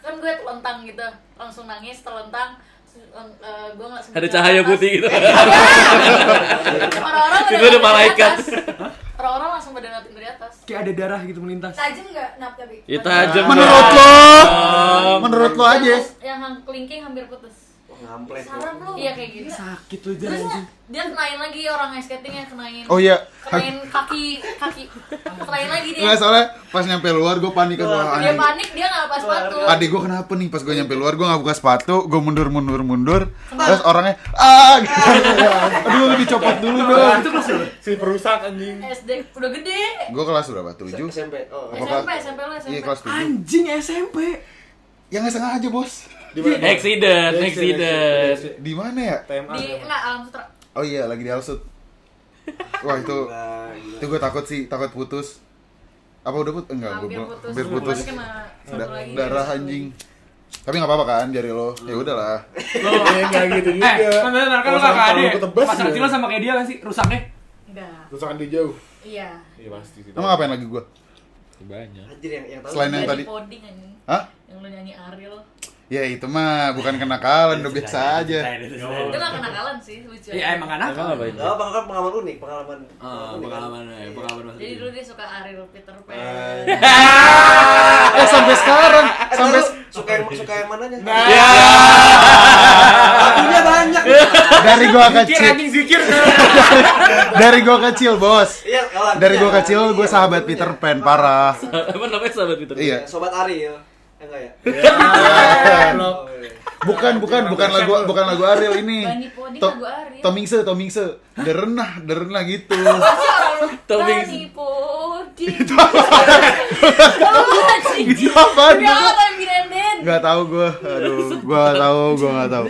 kan gue telentang gitu langsung nangis telentang eh, gue nggak sengaja
Ada cahaya
ke atas.
putih gitu.
orang-orang
Itu
pada
ada
ngeliatin
malaikat.
ke atas. orang-orang langsung pada ngeliatin dari atas
Kayak ada darah gitu melintas.
tajam nggak nap tapi
Itu aja.
menurut lo menurut lo
Yang-
aja
yang hang- kelingking hampir putus
Wah, Oh, Ngamplet.
sarap lu iya kayak gitu
Sakit lu jalan
terus
anjing.
dia kenain lagi orang ice skatingnya kenain
oh iya
kenain kaki kaki kenain lagi dia
nggak soalnya pas nyampe luar gue panik kan wah
dia
anjing
Iya, panik dia nggak lepas sepatu
adik gue kenapa nih pas gue nyampe luar gue nggak buka sepatu gue mundur mundur mundur terus orangnya ah gitu. aduh dicopot dulu dong
Itu kelas lu.
Si perusak anjing.
SD udah gede
gue kelas berapa tujuh
SMP. Oh.
Apa
SMP
kelas-
SMP lu SMP
iya kelas tujuh
Anjing SMP.
yang nggak sengaja bos
Accident, accident.
di mana ya
TMA.
di nggak alam sutra
Oh iya, lagi di Alsut. Wah itu,
Nah, gila.
itu gue takut sih, takut putus. Apa udah put? Enggak, gue
hampir
belum.
putus
Hampir putus.
Cuman kena satu
Da-
lagi
darah
satu
anjing. Tapi nggak apa-apa kan jari lo? Ya udahlah.
Eh, nggak gitu juga.
Eh, kan benar kan lu
Kalau
kakak
kalau
adik.
gua tebas
Masa
ya.
kecil lu sama kayak dia kan sih rusaknya.
lagi. enggak
Rusakan di jauh.
iya
Iya pasti sih.
Emang ngapain lagi gue?
Banyak.
Anjir yang yang tahu.
Selain yang
Jadi
tadi.
coding anjing
Hah?
yang lu nyanyi Ariel
Ya itu mah bukan kenakalan, udah biasa aja.
itu nggak kenakalan sih lucu
Iya,
aja.
emang anak.
Emang apa itu?
Gak apa kan pengalaman unik, pengalaman.
Ah,
unik kan?
pengalaman ya, pengalaman masa
jadi
kecil.
dulu dia suka Ariel Peter Pan
Eh sampai sekarang,
Eh,
sampai
sampai
se-
suka yang suka yang mananya? Iya.
Ya.
Lagunya banyak.
dari gua
Zikir
kecil,
anjing zikir.
(laughs) dari gua kecil bos.
Iya, kalau lagunya,
Dari gua kecil
lagunya,
gue sahabat
lagunya.
Peter Pan parah.
Apa namanya sahabat Peter? Pan?
Iya.
Sobat Ariel. Enggak ya? Oh, iya.
Bukan, bukan, bukan lagu, bukan lagu Ariel ini.
Bani Poding
To-
lagu Ariel
Tomingse, Tomingse, derenah, derenah gitu.
Pasti orang
Tommy-
Bani Poding Tahu anjing.
Itu apaan?
Demi Allah Bani Mirenden
Gak tau gue, aduh, gue gak tau, gue gak tau.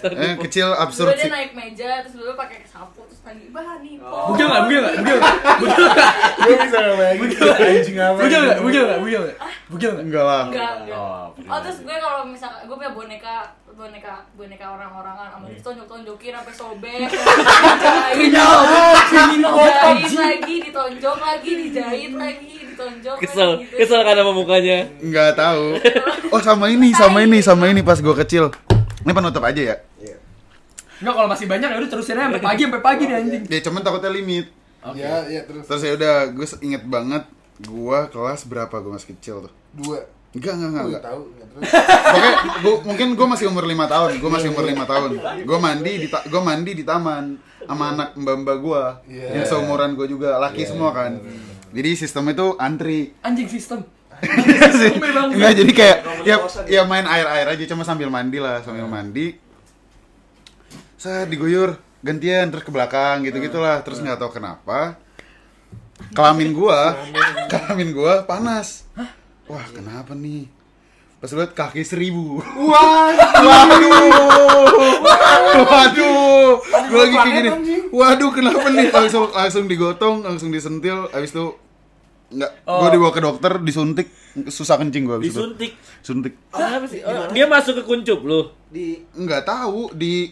Eh, kecil
dulu
absurd sih.
dia naik meja terus dulu pakai sapu terus tadi Bani
Oh.
Bugil nggak? Bugil nggak? Bugil nggak? Bugil nggak?
Gue bisa ngebayangin anjing apa.
Bugil nggak? Bugil nggak? Bugil nggak?
Ah.
Bugil nggak?
Enggak lah.
enggak enggak
Oh,
Oh terus gue kalau misalkan gue punya boneka boneka boneka orang-orangan sama ditonjok tonjokin sampai sobek dijahit dijahit lagi ditonjok lagi dijahit lagi ditonjok
Kesel,
lagi, gitu.
kesel kan? karena sama mukanya.
Enggak tahu. Oh, sama ini, sama ini, sama ini pas gue kecil. Ini penutup aja ya.
Iya.
Nggak, kalau masih banyak ya udah terusin aja sampai pagi sampai pagi nih anjing.
Ya cuman takutnya limit.
Ya, ya terus
Terus ya udah, gue inget banget gue kelas berapa gue masih kecil tuh.
dua.
Enggak, enggak, enggak,
Gue
enggak.
tahu. ya, Terus
Pokoknya gua- mungkin gue masih umur 5 tahun, gue masih
Iya,
umur 5 tahun. Gue mandi di ta- gua mandi di taman sama anak mbak-mbak gue
Iya.
yang seumuran gue juga, laki semua kan. Jadi sistem itu antri.
Anjing sistem.
Iya Enggak jadi kayak ya ya main air-air aja cuma sambil mandi lah, sambil mandi. saya diguyur gantian terus ke belakang gitu gitulah terus nggak tahu kenapa kelamin gua kelamin gua panas wah kenapa nih pas lihat kaki seribu waduh waduh gua lagi kayak gini waduh kenapa nih langsung langsung digotong langsung disentil abis itu nggak gua dibawa ke dokter disuntik susah kencing gua abis itu.
Disuntik.
suntik
Kenapa sih? Oh, dia masuk ke kuncup lu.
di
nggak tahu di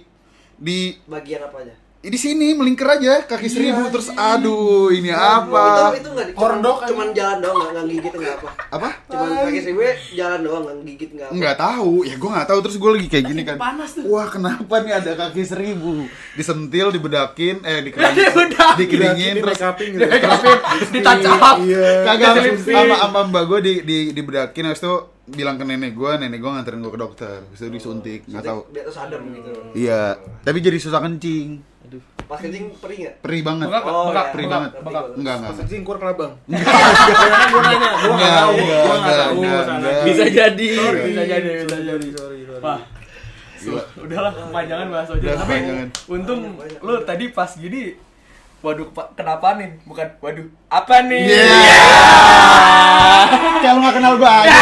di
bagian apa aja?
di sini melingkar aja kaki
Iya,
seribu terus aduh ini
Oh,
apa
itu, itu nggak di-
Hordok
cuman, cuman jalan doang nggak nggak gigit nggak apa?
apa
Cuman pakai seribu jalan doang nggak gigit nggak apa?
nggak tahu ya gue nggak tahu terus gue lagi kayak gini kan wah kenapa nih ada kaki seribu disentil dibedakin eh
Iya,
dikeringin dikeringin
Di
terus
make upin gitu.
(laughs)
Ditancap.
kagak langsung
Diselipin.
sama sama mbak gue di, di dibedakin habis itu bilang ke nenek gue nenek gue nganterin gue ke dokter habis itu disuntik nggak tahu
Di atas adem gitu.
iya tapi jadi susah kencing
Pas kencing perih nggak?
perih banget
Bengkak,
Oh,
bengkak,
ya.
perih
bengkak,
banget
bengkak.
enggak enggak
Pas
enggak.
kencing keluar kelabang.
Enggak, enggak,
gua nggak
enggak,
tahu,
enggak,
sana.
enggak.
Bisa jadi.
Bisa jadi, bisa jadi.
Sorry, sorry.
Wah.
Gila.
Udahlah, kepanjangan bahas aja.
Udah,
Tapi
kepanjangan.
untung lu tadi pas gini Waduh, kepa- kenapa nih? Bukan, waduh, apa nih?
Kalau nggak kenal banyak.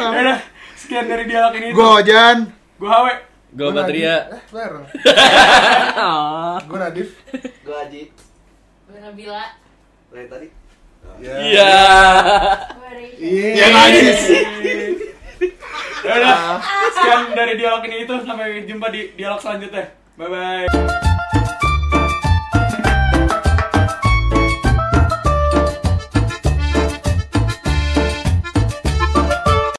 Ya udah, sekian dari dialog ini.
Gue Ojan.
Gua Hawe.
Gua Patria.
Eh, bareng. Gue Nadif.
Gua Haji.
Gue Nabila
Dari tadi.
Iya.
Gue Reisha
Yang najis.
Ya udah, sekian dari dialog ini itu sampai jumpa di dialog selanjutnya. Bye bye.